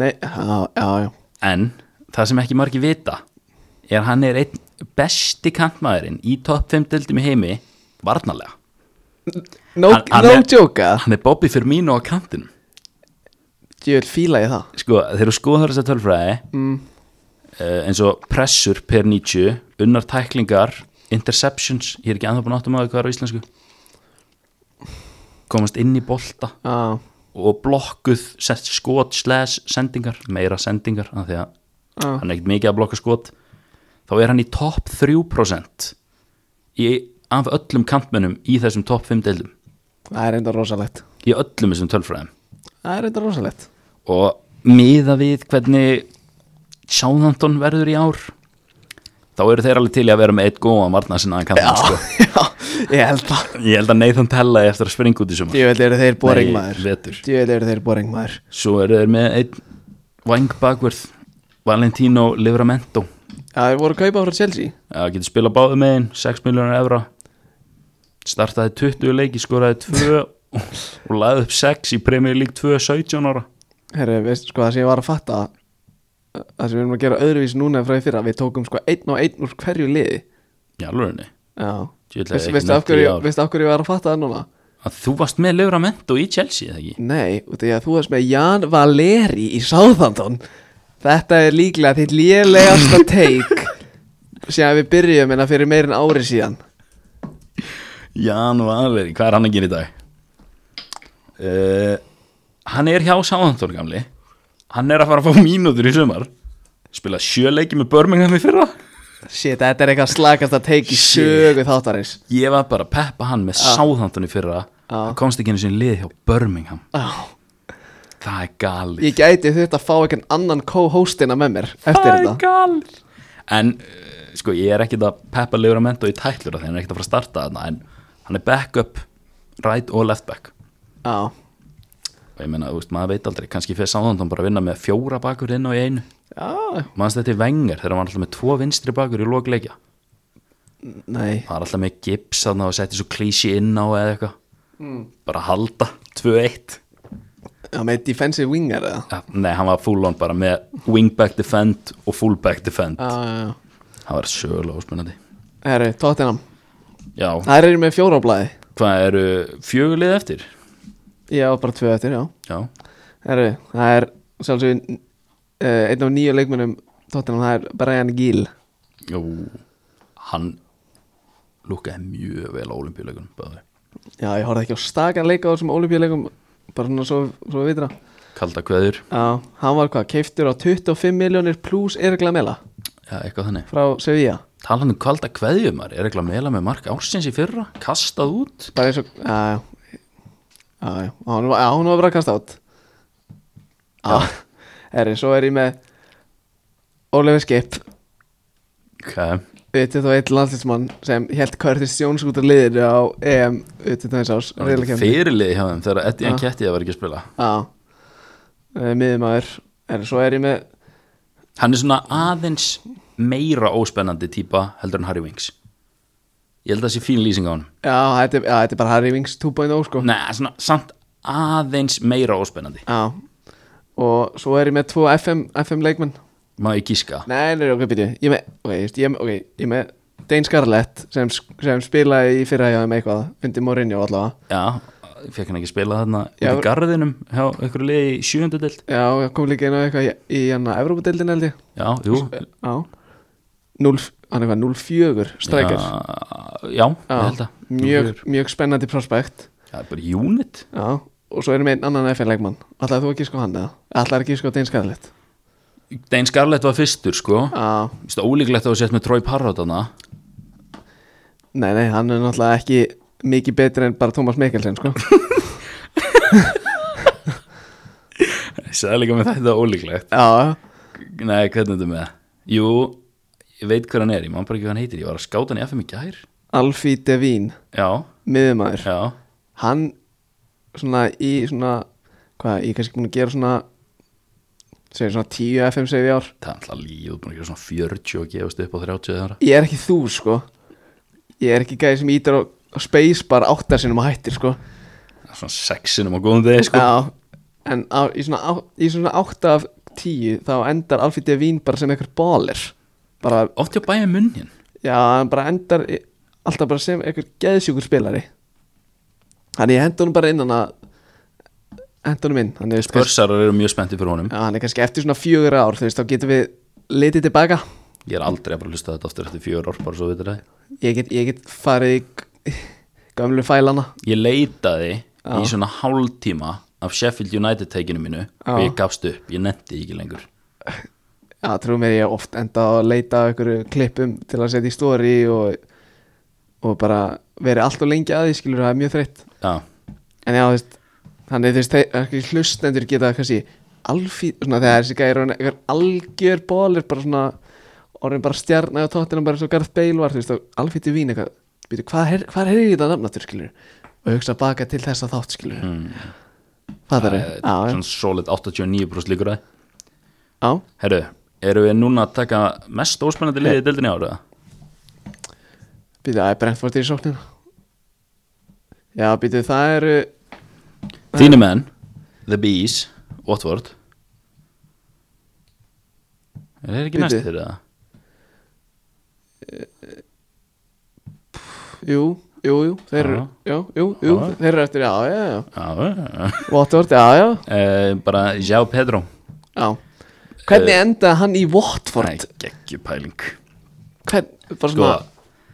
S1: nei, já, já, já
S2: En það sem ekki margir vita er hann er einn besti kantmaðurinn í topp 5 deildum í heimi varnarlega.
S1: No,
S2: Hann- hann
S1: no
S2: er-
S1: joke, eða?
S2: Hann er Bobby Firmino á kantinum.
S1: Djöfull fíla ég það
S2: Sko, þeir eru skoðar þess að tölfræði
S1: mm.
S2: uh, eins og pressur per 90, unnar tæklingar, interceptions, ég er ekki anþá búin áttum að hvað er á íslensku, komast inn í bolta
S1: Já,
S2: og blokkuð sett skot, sles, sendingar, meira sendingar, af því að
S1: já
S2: hann er ekkert mikið að blokka skot þá er hann í topp 3% í, af öllum kantmennum í þessum topp 5 deildum
S1: Það er enda rosalegt
S2: í öllum þessum tölfræðum
S1: Það er enda rosalegt
S2: og miða við hvernig Southampton verður í ár þá eru þeir alveg til í að vera með eitt góðan varnar sinna að kantmenn sko.
S1: Já, ég held það
S2: ég held að Nathan Tella eigi eftir að springa út í sumar
S1: Djöfull eru þeir boring maður
S2: vetur
S1: Djöfull eru þeir boring maður
S2: svo eru þeir með eitt Wang Bagworth Valentino Livramento
S1: Já, þeir voru að kaupa frá Chelsea
S2: að getur spila báðu megin 6 miljónar evra startaði 20 leiki, skoraði 2 og, og laði upp 6 í Premier League 2 17 ára
S1: Herru, veist, sko það sem ég var að fatta uh, Það sem við erum að gera öðruvís núna en frá því fyrra Við tókum sko einn og einn úr hverju liði
S2: í alvörunni
S1: Já
S2: Djöfull,
S1: Veist-
S2: það er ekki
S1: Veistu
S2: nefnt
S1: af, hverju-
S2: í ár.
S1: veistu af hverju ég var að fatta það núna?
S2: að þú varst með Livramento í Chelsea eða ekki
S1: Nei, út af því að þú varst með Jan Valeri í Southampton Þetta er líklega þitt lélegasta take Síðan við byrjum en fyrir meir en ári síðan
S2: Jan Valeri, hvað er hann að gera í dag? Uh, hann er hjá Sáðantón gamli hann er að fara að fá mínútur í sumar spila sjöleiki með Birmingham í fyrra
S1: Shit, þetta er eitthvað slakasta take í sögu þáttarins
S2: ég var bara að peppa hann með Sáðantón í fyrra
S1: Já.
S2: hann komst ekki einu sinni í lið hjá Birmingham
S1: oh.
S2: það er galið
S1: Ég gæti þetta að fá einhvern annan co-hostina með mér eftir
S2: það er
S1: þetta
S2: galið en uh, sko ég er ekkit að peppa Livramento í tætlur þannig hann er ekkit að fara að starta þarna en hann er back up, right og left back
S1: Já,
S2: og ég meina, þú veist, maður veit aldrei kannski fyrir Sáðantón bara að vinna með fjóra bakur inn og í einu
S1: já,
S2: mannst þetta í vengar þegar hann var alltaf með tvo vinstri bakur í lokleikja
S1: nei
S2: hann var alltaf með gips þarna og setti svo klísi inn á eða eitthvað bara halda, 2-1
S1: Já, með defensive winger eða
S2: Ja, nei, hann var full on bara með wingback defend og fullback defend
S1: Já, já, já
S2: hann var sjögulega óspennandi
S1: Herru, Tottenham
S2: já,
S1: Það eru með fjóra á blæði
S2: hvað eru fjögulið eftir?
S1: Já, bara tvö eftir, já
S2: já,
S1: Herru, það er sjálfsög uh, einn af nýju leikmennum Tottenham, það er Brian Gill
S2: Jú, hann lúkaði mjög vel á olimpíuleikunum bæði.
S1: Já, ég horfði ekki á stakan leika á þessum olimpíuleikum bara svona svo, svo við vitra
S2: kalda kveður,
S1: Já, hann var hvað, keiftur á 25 miljónir pluss Erik Lamela
S2: já, eitthvað þannig
S1: frá Sevilla
S2: talan um kalda kveðjumar, er eitthvað meila með mark ársins í fyrra, kastað út
S1: bara eins og, já, já Já, já, hann var, já, hún var bara að kasta át Já, herru, svo er ég með Oliver Skip
S2: ok,
S1: 21 landslismann sem held Curtis Jones út af liðinu á EM 21 árs
S2: Það var ekki
S1: riðlakeppni.
S2: fyrirlið hjá þeim þegar Eddie
S1: Ah.
S2: and Ketty var ekki að spila
S1: Já Miðumæður En svo er ég með
S2: Hann er svona aðeins meira óspennandi típa heldur en Harry Winks Ég held að það sé fín lýsing á hann
S1: Já, þetta er, já, þetta er bara Harry Wings 2.0 sko
S2: Nei, svona samt aðeins meira óspennandi
S1: Já Og svo er ég með tvo FM, FM leikmenn
S2: Má ég gíska
S1: Nei, nei, ok, byrju Ég er með, ok, just, ég, er með- okay, ég er með Dane Scarlett sem, sem spilaði í fyrra hjá þeim eitthvað undir Mourinho allavega
S2: Já, fekk hann ekki spila þarna
S1: Já.
S2: út í garðinum hjá ykkur liði í sjöundu deild
S1: Já, ég kom líka inn á eitthvað í, í hann að Evrópadeildin held ég
S2: Já, jú
S1: Já 0, hann er hvað, 04 strækir
S2: Já, já ég held
S1: Já,
S2: að
S1: mjög, mjög spennandi prospekt
S2: Það er bara unit
S1: Já, og svo erum við einn annan FN-leikmann Ætlaði þú að gíska á hann eða? Ætlaði að gíska á Dein Skarlett
S2: Dein Scarlett var fyrstur, sko
S1: Já,
S2: Vist, Ólíklegt að þú sett með Troy Parrot þarna
S1: nei, nei, hann er náttúrulega ekki mikið betri en bara Tómas Mikkelsen, sko
S2: Ég sagði líka með þetta ólíklegt
S1: Já,
S2: Nei, hvernig er þetta með það? Jú, ég veit hver hann er, ég man bara ekki hvað hann heitir Ég var að skáta hann í FM í gær
S1: Alfie Devín,
S2: Já,
S1: miðumæður
S2: já,
S1: Hann, svona í svona, hvað, ég er kannski búin að gera svona segjum svona 10 FM segjum í ár
S2: það er alltaf líð Búin að gera svona 40 og gefast upp á 30 þeirra
S1: Ég er ekki þú, sko Ég er ekki gæði sem ítir á, á space bara áttasinum að hættir, sko
S2: Svona sexinum á góðum degi, sko
S1: Já, en á, í, svona, á, í svona 8 af 10 þá endar Alfie Devín bara sem einhver baller bara,
S2: Oft hjá bæja munnin
S1: já, hann bara endar í- alltaf bara sem einhver geðsjúkur spilari Þannig ég henda honum bara innan að henda honum inn hann er, kannski,
S2: Börsarar eru mjög spenntið fyrir honum
S1: já, hann er kannski eftir svona fjögur ár þú veist, þá getum við litið tilbaka
S2: Ég er aldrei að bara hlusta þetta aftur eftir fjör ár Bara svo veitir það
S1: ég get, ég get farið í g- gömlu fælana
S2: Ég leitaði í svona hálftíma Af Sheffield United teikinu mínu Og ég gafst upp, ég nefndi ekki lengur
S1: Já, trú mér ég oft enda að leita að einhverju klippum til að setja í stóri og, og bara verið allt og lengi að því skilur það er mjög þreytt
S2: Já,
S1: en já, þú veist, þannig þú veist, þeir ekki hlustendur geta kannski alfí, svona þegar þessi gæri hann einhver algjör bólir bara svona orðin bara stjarnar á tóttinu bara svo Garth Bale var, þú veist, og alfíti vín eitthvað, býtu, hvað er, hvað er þetta nafnatur skilur, og hugsa baka til þessa þátt skilur, mm. það er
S2: eh,
S1: já, já,
S2: svona solid 89% líkur að
S1: já,
S2: Herru, eru við núna að taka mest óspennandi liðið í deildinni ára?
S1: býtu, það er brentfórt í sóknina Já, býtu, það eh, eru
S2: Þínu menn, The Bees, Watford Er þeir ekki
S1: Bíddu.
S2: næstir þeirra?
S1: Jú, jú, jú, þeir eru
S2: Já.
S1: Jú, jú, jú,
S2: Já.
S1: þeir eru eftir, já, já, já
S2: Já,
S1: Watford, já, já,
S2: uh, bara Jao Pedro
S1: já Hvernig endaði hann í Watford?
S2: Eh, Nei, geggju pæling
S1: Hvern, bara
S2: Sko,
S1: svona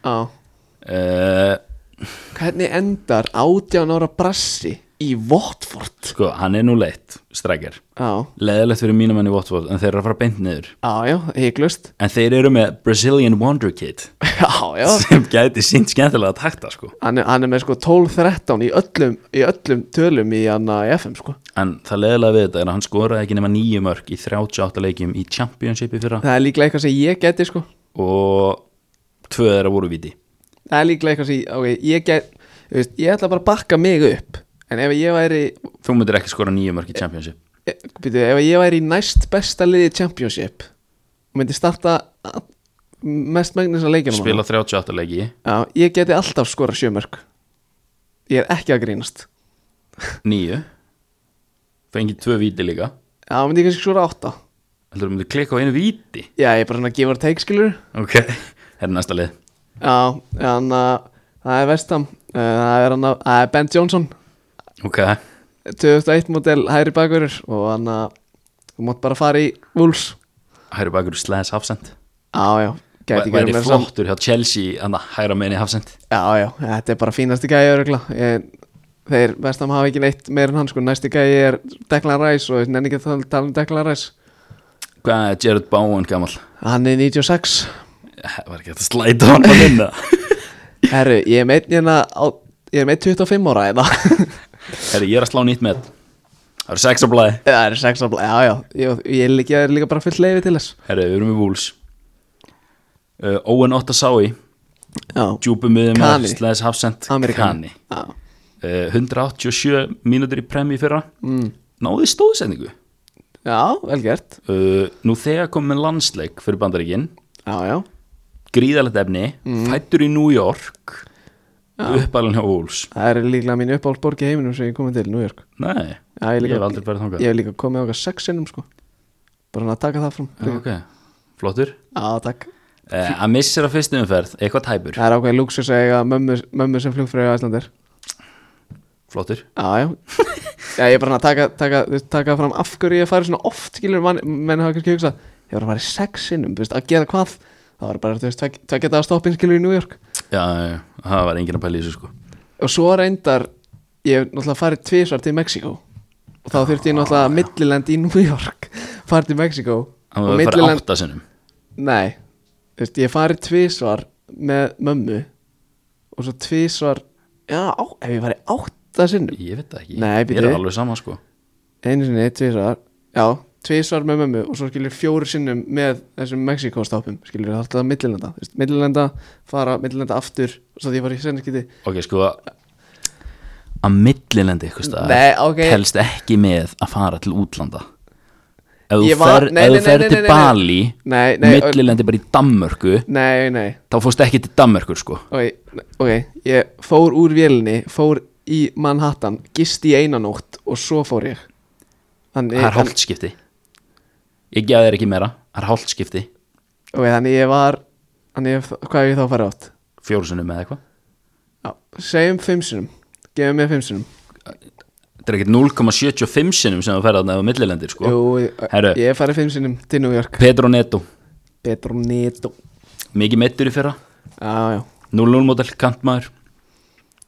S1: Já
S2: uh,
S1: Hvernig endar átján ára brassi í Watford?
S2: sko, hann er nú leitt, strækjar
S1: Já,
S2: Leðilegt fyrir mínum enn í Watford En þeir eru að fara beint niður
S1: já, já, hygglust
S2: En þeir eru með Brazilian Wonder Kid
S1: Já, já
S2: Sem gæti sínt skemmtilega að takta, sko
S1: Hann er, hann er með sko 12-13 í öllum, í öllum tölum í hann í FM sko
S2: En það leðilega við þetta er að hann skoraði ekki nema nýju mörk í 38 leikjum í Championshipi fyrra
S1: Það er líklega eitthvað sem ég geti sko
S2: og tvö þeirra voru viti
S1: Það er líklega eitthvað sem ok, ég get þú veist, Ég ætla bara að bakka mig upp En ef ég væri
S2: Þú myndir ekki skora nýju mörk í Championship
S1: e, býtu, Ef ég væri í næst besta liði Championship og myndi starta a- mest megnis að leikjum
S2: Spila 38 leiki,
S1: Já, ég geti alltaf skora sjömörk Ég er ekki að grínast
S2: nýju Fengið tvö viti líka
S1: Já, myndi ég kannski skora átta
S2: Heldur þú myndir klikka á einu viti
S1: Já, ég er bara svona give or take skilur
S2: Ok, hér er næsta lið
S1: Já, hann að það er vestam það er, hann að- það er Ben Johnson
S2: Ok,
S1: 2001 model hæri bakurur og hann að þú mátt bara fara í Wolves
S2: hæra bakur slæðis hafsend
S1: Já, já, gæti ekki verið
S2: Væri
S1: með samt
S2: flottur hjá Chelsea hann að hæra meini hafsend
S1: Já, já, þetta er bara fínasti gæi örugla Þeir vestam hafa ekki neitt meir en hann sko næsti gæi er Declan Rice og ég nenni ekki að tala- tala um Declan Rice
S2: Hvað er Gerard Bowen gammal?
S1: Hann er 96
S2: Var ekki hægt að slæta hann að vinna
S1: Herru, ég er meitt hérna á- ég er meitt 25 ára hérna. eða
S2: Herri, ég er að slá nýtt með Það eru sex á blæði
S1: Það er 6 ára, já, já Ég, ég, er líka, ég er líka bara fullt leiði til þess
S2: Herri, við erum í Wolves uh, Owen Ottasái
S1: Já,
S2: Djúpum miðum
S1: Kani.
S2: Slæðis hafsend
S1: Amerikani Já,
S2: uh, 187 mínútur í premji fyrra mm. náði stóðsendingu
S1: já vel gert
S2: uh, nú þegar kom með landsleik fyrir bandaríkin
S1: Já, já,
S2: gríðalegt efni,
S1: Mm.
S2: fættur í New York uppalinn hjá Wolves
S1: það er líklega mín uppáhaldsborg í heiminum sem ég komið til, New York
S2: nei,
S1: Já, ég
S2: ég
S1: líka-
S2: hef aldrei verið þangað
S1: Ég hef líka komið okkar sex sinnum sko Bara hann að taka það fram
S2: Já, ok, flottur
S1: Já, takk
S2: uh, að missir á fyrstu umferð, eitthvað tæpur
S1: Það er ákveðin lúksus að eiga mömmu, mömmu sem flugfröði á Íslandir
S2: flottur,
S1: Já, já Já, ég er bara hann að taka, taka, þú veist, taka fram af hverju ég fari svona oft skilur mann, menn hafa kannski hugsað Ég var að fara í sex sinnum, þú veist, að gera hvað Það var bara, þú veist, tvekja dagar stoppin skilur í New York
S2: já, já, það var enginn að pæla í þessu sko
S1: og svo reyndar ég hef náttúrulega farið tvisvar til Mexiko og þá þurfti ég náttúrulega að milliland í New York farið til Mexiko
S2: hann
S1: og
S2: var að fara
S1: milliland,
S2: átta sinnum
S1: nei þú veist, ég hef farið tvisvar með mömmu og svo tvisvar já, á, ef ég farið átta sinnum
S2: ég veit það ekki,
S1: Nei,
S2: ég er
S1: bíddu.
S2: alveg sama sko
S1: einu sinni, tvisvar, já tvisvar með mömmu og svo skilur fjóru sinnum með þessum Mexiko stápum, skilur það alltaf millilanda, þú veist, millilanda fara millilanda aftur, svo því ég var í senniskiti
S2: ok, sko að millilendi eitthvað staðar
S1: Nei, ok.
S2: telst ekki með að fara til útlanda ef þú
S1: Ég var-
S2: fer,
S1: nei,
S2: ef
S1: nei,
S2: þú fer
S1: nei, nei,
S2: til
S1: nei, nei.
S2: Bali
S1: nei, nei, ö-
S2: millilendi bara í Danmörku
S1: nei, nei
S2: þá fórst ekki til Danmörkur sko
S1: Ok, ok, ég fór úr vélinni, fór í Manhattan, gist í einanótt og svo fór ég Þannig,
S2: það er hálftskipti ég geða þér ekki meira, það er hálftskipti
S1: Ok, þannig ég var, þannig ég, hvað hef ég þá farið átt?
S2: fjórusunum eða eitthvað
S1: Já, segjum fimm sinum, gefum mér fimm sinum
S2: þetta er ekkert 0,75 sinum sem þú ferða þannig á millilendir sko
S1: Jú, ég-
S2: Herru.
S1: ég hef farið fimm sinum til New York
S2: Pedro Neto,
S1: Petro Neto
S2: mikið meittur í fyrra
S1: Já, já,
S2: 0-0 model, kantmaður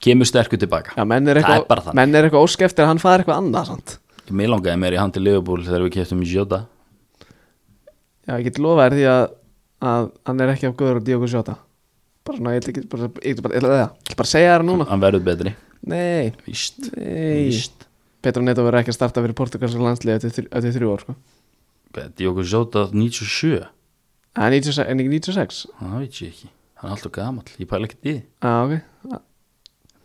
S2: kemur sterkur tilbaka
S1: já, menn er
S2: það er bara
S1: eitthvað,
S2: þannig
S1: menn er eitthvað óskeftir að hann farið eitthvað annað, sant?
S2: Mér langaði meir í hann til Liverpool þegar við keftum Jota
S1: Já, ég get lofa þér því að, að hann er ekki af góður og Diogo Jota Bara svona, ég ætla ekki, bara, ég ætla bara, ég ætla bara, ég ætla bara að segja þér núna
S2: Hann verður betri
S1: Nei,
S2: Víst
S1: nei
S2: Víst
S1: Petro Neto verður ekki að starta fyrir portugalska landsliði eftir, þrjú- eftir þrjú ár sko.
S2: Hvað, Diogo Jota 97
S1: Það er 96 en ekki 96
S2: Það veit ég ekki Hann er alltaf gamall Ég pæla ekkert í því
S1: Já, ok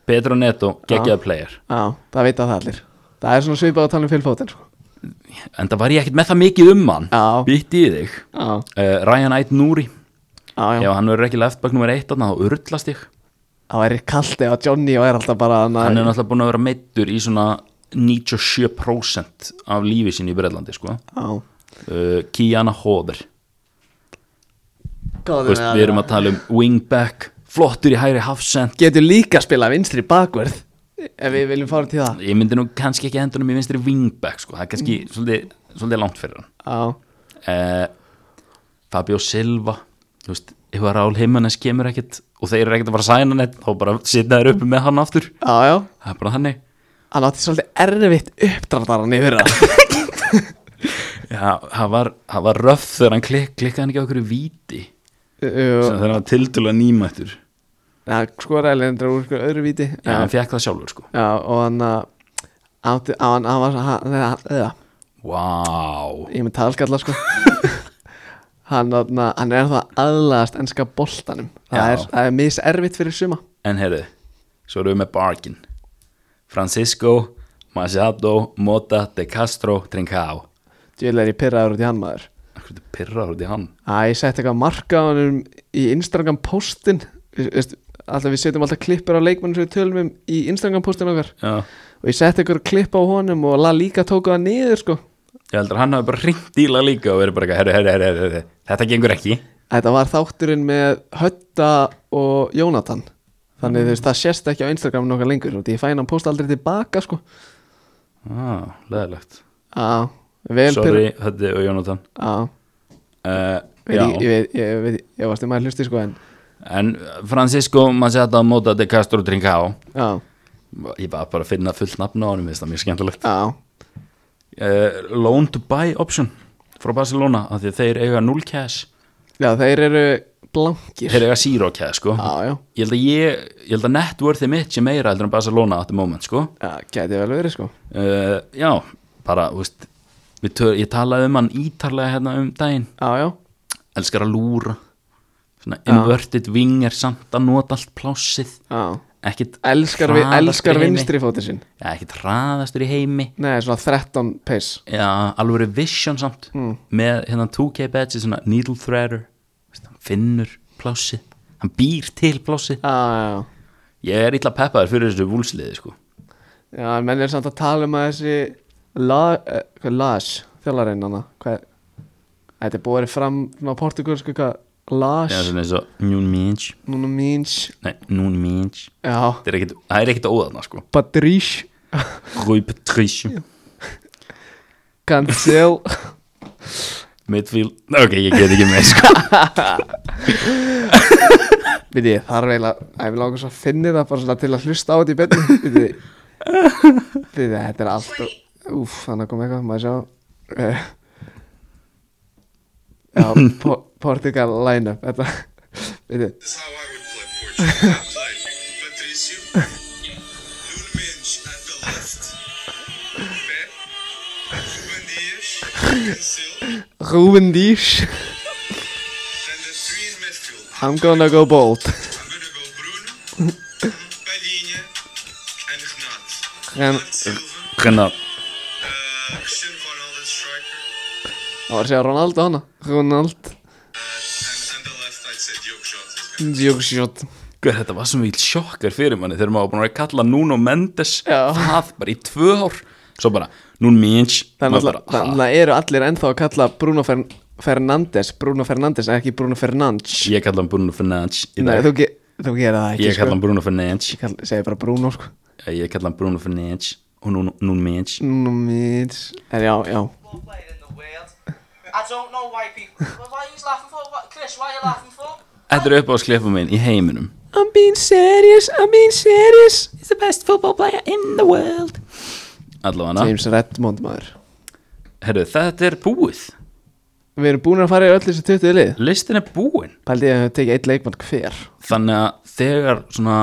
S2: Pedro Neto geggjaði player
S1: Já, það veit að það allir Það er svona svipað að tala um fylgfótin sko.
S2: En það var ég ekkert með það mikið um hann
S1: Já.
S2: Vitt í þig
S1: Já,
S2: uh, Ryan Ait Núri
S1: já, já
S2: Ef hann verður ekki leftback nummer 1 Þannig þá urðlast ég
S1: Það væri kallt eða Johnny og er alltaf bara hann
S2: hann er
S1: að
S2: náttúrulega búin að vera meittur í svona 97% af lífi sín í Breitlandi sko.
S1: Já.
S2: uh, Kiana Hóður
S1: Hvað er
S2: Þú veist,
S1: það?
S2: við erum að tala um wingback flottur í hægri hafsend
S1: Getur líka að spila vinstri bakverð Ef við viljum fara til það
S2: ég myndi nú kannski ekki hendur um í vinstri wingback sko. það er kannski svolítið, svolítið langt fyrir hann
S1: Já,
S2: uh, Fabio Silva þú veist, ef að Rál Heimannes kemur ekkit og þeir eru ekkit að fara að sæna neitt þá bara sitna þeir uppi með hann aftur
S1: já, já
S2: það er bara þannig
S1: Hann átti svolítið erfitt uppdráttarhann í fyrra
S2: Já, það var, það var röf þegar hann klik, klikkaði hann ekki á okkur víti
S1: Jú,
S2: sem þegar hann var tildulega nýmættur
S1: hann skoraði lendur úr sko öðru víti
S2: Já,
S1: En-
S2: hann fekk það sjálfur sko
S1: Já, og hann að átti, á, hann, hann var svo- hann, hann, hann,
S2: Vá
S1: ég er með talskalla sko hann, hann, hann er það aðlaðast ennska boltanum það
S2: Já.
S1: er, það er miservitt fyrir suma
S2: En heyrðu, svo erum við með Barkin Francisco Machado, Mota, De Castro, Trincao
S1: djúlega er ég pyrraður út í hann maður
S2: Akkur þetta pirrar út í hann
S1: að ég sett eitthvað marka á hann í Instagram postin Veist, alltaf við setjum alltaf klippur á leikmannum sem við tölum um í Instagram postin okkar
S2: Já,
S1: og ég sett eitthvað klipp á honum og La Liga tóku það niður sko
S2: ég heldur að hann hafi bara ringt díla líka og verið bara eitthvað, heyrðu, heyrðu, heyrðu, heyrðu, heyrðu Þetta gengur ekki
S1: Þetta var þátturinn með Hötta og Jónatan Þannig þú veist, það sést ekki á Instagram nokkar lengur og því ég fæ hann posta aldrei tilbaka sko
S2: ah, Leðilegt
S1: Já, vel
S2: Sorry, Hötti og Jónatan
S1: Já,
S2: uh,
S1: veit, ég, ég, veit- ég, veit, ég varst um að hlusti sko en
S2: En Francisco Machado, Mota, De Castro, Trincao
S1: Já,
S2: Ég var bara að finna fullt nafn á honum veist það er mjög skemmtilegt
S1: já,
S2: uh, Loan to buy option frá Barcelona, af því að þeir eiga 0 cash
S1: já þeir eru blankir
S2: þeir eiga 0 cash sko
S1: Já, já,
S2: ég held að ég, ég held að networthið mitt sé meira heldur en Barcelona at the moment sko
S1: já, gæti vel verið sko
S2: uh, Já, bara, þú veist við tör, ég talaði um hann ítarlega hérna um daginn
S1: Já, já,
S2: elskar að lúra svona inverted wing er samt að nota allt plássið
S1: já
S2: ekkit
S1: Elskar, vi,
S2: hraðastur
S1: elskar
S2: í heimi.
S1: vinstri fótið sinn
S2: Já, ekkit hraðastur í heimi
S1: Nei, svona 13 pace
S2: Já, alvöru vision samt
S1: Mm.
S2: með hérna 2K badge svona needle threader Veist, hann finnur plásið, hann býr til plásið
S1: Já, já, já
S2: ég er illa peppaður fyrir þessu vúlsliði sko.
S1: Já, menn er samt að tala um að þessi la, eh, hvað, Las, þjólarinn hana hvað, Þetta er búið fram á portugalsku hvað, Las
S2: Já, svona eins og Núni Minch
S1: Núna míns,
S2: Nei, Núni Minch
S1: já,
S2: Það er ekkit, það er ekkit óðaðna sko
S1: Patrice
S2: Rui Patricio
S1: Cancel
S2: Midfield Ah, Ok, ég get ekki með sko
S1: Við ég, það er eiginlega, að við langar svo að finni það bara svona til að hlusta á þetta í benni Við ég, við ég, þetta er allt Úf, þannig kom eitthvað, maður sjá eh, Já, po Portugal line-up, þetta Við ég,
S3: This is how I would play Portugal. I would play Patricio, Nuno Mendes at the left, Pep, Ruben Dias, Cancel,
S1: Ruben Dísh
S3: and the three in midfield.
S1: I'm gonna go bold
S3: I'm gonna go Bruno, Palhinha, and
S1: En
S3: Renato.
S2: Hérna,
S3: Bernardo Silva, uh, Cristiano Ronaldo as striker,
S1: það var að segja Ronaldo hana Ronald
S3: and, and the left I'd say Diogo Jota. is gonna-
S1: Djóksjót
S2: hver þetta var svo mjög sjokkar fyrir manni þegar maður var búin að vera að kalla Nuno Mendes
S1: Já.
S2: það bara í tvö ár Svo bara, Núni Minch
S1: Þannig
S2: Maður bara, ha,
S1: að eru allir ennþá að kalla Bruno Fern Fernandes Bruno Fernandes en ekki Bruno Fernandes
S2: Ég kalla hann E Bruno Fernandes E í
S1: Nei,
S2: dag.
S1: þú, ge þú gera það ekki sko.
S2: Ég kalla hann Bruno Fernandes
S1: Ég kalla, segi bara Bruno sko
S2: Ég kalla hann Bruno Fernandes og nú, nú minns
S1: Nú mít En já, já
S4: football player in the world. I don't know why people. Well, why are you laughing for? What, Chris, why are you laughing for?
S2: Þetta er upp á sklefa minn í heiminum
S1: I'm being serious, I'm being serious
S2: He's the best football player in the world Allavega
S1: James Redmond maður
S2: herru, þetta er búið
S1: Við erum búin að fara í öll þessi 20 lið
S2: Listin er búin
S1: Pældi ég að við tekið eitt leikmann hver
S2: Þannig að þegar svona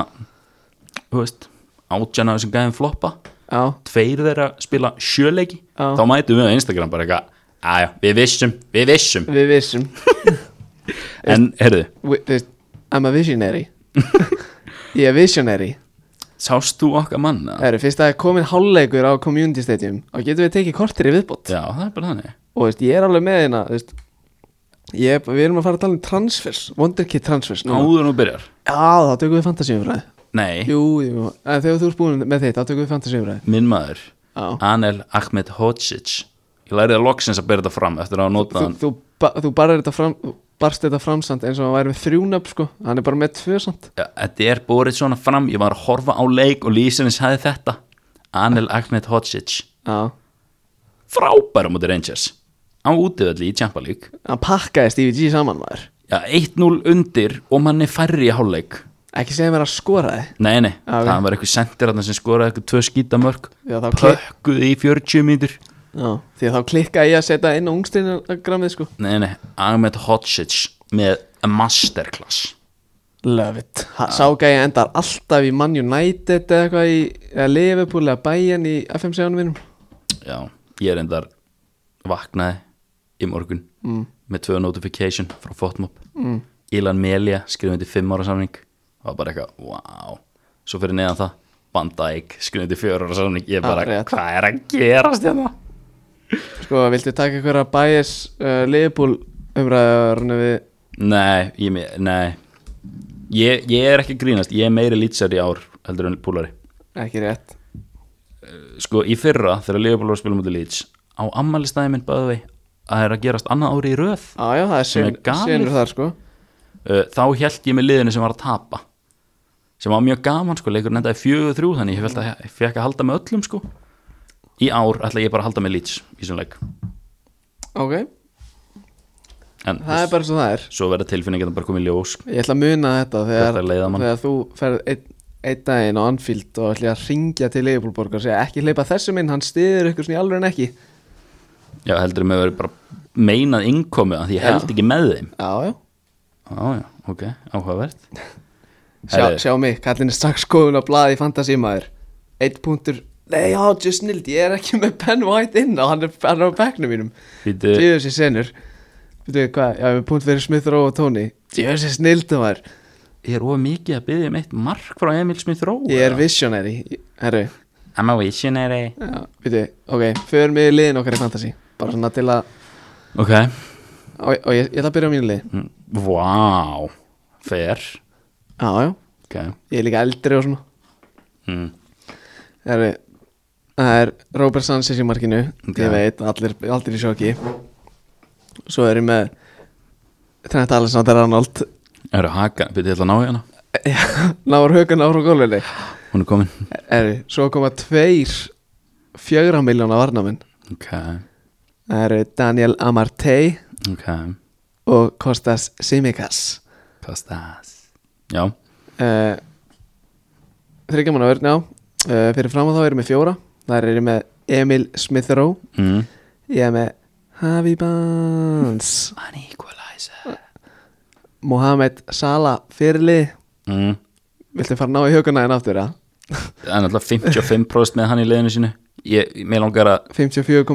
S2: Þú veist, átjana þessum gæðin floppa
S1: Já,
S2: Tveir þeirra spila sjöleiki
S1: Já.
S2: Þá mætum við á Instagram bara eitthvað Æja, við vissum, við vissum
S1: við vissum
S2: En herru,
S1: Wi- þú veist, I'm a visionary ég er visionary
S2: sást þú okkar manna?
S1: það eru fyrst að það er komin hálfleikur á community stadium og getum við tekið kortir í viðbót
S2: Já, það er bara þannig
S1: og þú veist, ég er alveg með hérna þú veist, ég, er- við erum að fara að tala um transfers wonderkid transfers núna.
S2: Áður nú byrjar
S1: já, þá tökum við fantasíum frá það
S2: Nei,
S1: Jú, jú, en þegar þú ert búin með þitt, þá tökum við fantasy umræði
S2: minn maður
S1: Já.
S2: Anel Ahmed Hodzic Ég læriði að loksins að bera þetta fram eftir að nota
S1: Þú,
S2: hann
S1: þú, ba þú barðir þetta fram, þú barst þetta framsamt eins og hann væri með þrjúnöfn sko, hann er bara með tvösamt
S2: Já, Þetta er borið svona fram Ég var að horfa á leik og lýsirins hafði þetta Anel Ahmed Hodzic
S1: Já,
S2: Frábæra múti Rangers Á útivöldi í Champa League
S1: hann pakkaði Stevie G saman maður
S2: Já, 1-0 undir og manni færri í hálfleik
S1: Ekki segja mér að skora þið
S2: Nei, nei,
S1: Já, ok.
S2: það var eitthvað sendir þarna sem skoraði eitthvað tvö skítamörk
S1: Já, þá kli-
S2: Pökkuði í 40 mínútur
S1: Já, því að þá klikkaði ég að setja inn á ungstinagrammið sko
S2: Nei, nei, Ahmed Hodzic með a masterclass
S1: Love it ha, Sá gæja endar alltaf í Man United eða eitthvað í eða Liverpool eða Bayern í FMC-ánum mínum
S2: Já, ég er endar vaknaði í morgun mm. með tvö notification frá Fotmop mm. Ilan Melia skrifandi fimm ára samning það var bara eitthvað, wow svo fyrir neðan það, Bandæk skrifandi fjör ára samning, ég bara,
S1: rétt.
S2: hvað er að gerast hérna?
S1: Sko, viltu taka ykkur að bæjas uh, Liverpool umræðarnu við
S2: Nei, ég, me- nei. Ég, ég er ekki að grínast, ég er meiri lýtsar í ár heldur en púlari
S1: Ekki rétt
S2: sko í fyrra þegar Leopold var að spila mútið Leeds á ammælistæði minn bæði við að það er að gerast annað ári í röð
S1: Á, já, það er
S2: Sem er
S1: sinn-
S2: galið.
S1: sinnur þar sko
S2: uh, þá held ég með liðinu sem var að tapa sem var mjög gaman sko leikur nendaði fjögur þrjú þannig ég, að, ég fekk að halda með öllum sko í ár ætla ég bara að halda með Leeds í þessum leik
S1: Ok,
S2: en
S1: það er bara svo það er
S2: svo verða tilfinningarna bara komið í ljós
S1: Ég ætla að muna þetta
S2: Þetta er
S1: þegar,
S2: leiðamann.
S1: þegar þú ferð einn ein daginn á Anfield og ætla ég að ringja til Leifbólborg og segja ekki hleypa þessum inn, hann stiður ykkur svona í alveg en ekki
S2: já heldur með verið bara meinað innkomi að því ég held
S1: Já.
S2: ekki með þeim
S1: Já, já,
S2: já já, ok, áhugavert
S1: sjá,
S2: Herri.
S1: sjá mig, kallin er strax skoðun á blaði í fantasímaður Eitt punktur, nei já, just snild, ég er ekki með Ben White inn og hann er, hann er á bekknum mínum
S2: Bíddu.
S1: Djöðu sér senur Veitu hvað, já, ég er með punkt fyrir Smith Rowe og Tony Djöðu sér snildu maður,
S2: ég er of mikið að byggja um eitt mark frá Emil Smith Rowe
S1: ég er visionary Herru,
S2: I'm a visionary
S1: já, veitu, ok, förum við liðin okkar í fantasí Bara svona til að
S2: ok,
S1: og, og ég, ég ætla að byrja á mínu lið
S2: Mm, wow fair,
S1: Já, já,
S2: ok
S1: ég er líka eldri og svona
S2: mm.
S1: Það er, það er Robert Sanchez í markinu
S2: Ok.
S1: Ég veit, allir, allir í sjokki Svo er ég með Trent Alexander Arnold
S2: eru haka, byrja ég ætla að ná í hana
S1: Náður högun ára á gólfinni
S2: Hún er komin
S1: Erri, svo koma tveir Fjögra miljóna varnamenn
S2: Ok,
S1: Það eru Daniel Amartey
S2: ok
S1: Og Kostas Simikas
S2: Kostas Já,
S1: uh, Þryggjaman á örn, já uh, Fyrir fram að þá erum við fjóra Þar erum við Emil Smith-Rowe
S2: mm.
S1: Ég er með Javi Bans
S2: An equalizer
S1: Mohamed Salah Fyrli
S2: mm.
S1: Viltu fara að ná í huguna en aftur að?
S2: Það er náttúrulega 55% með hann í leiðinu sínu ég, mér, langar að,
S1: 54,1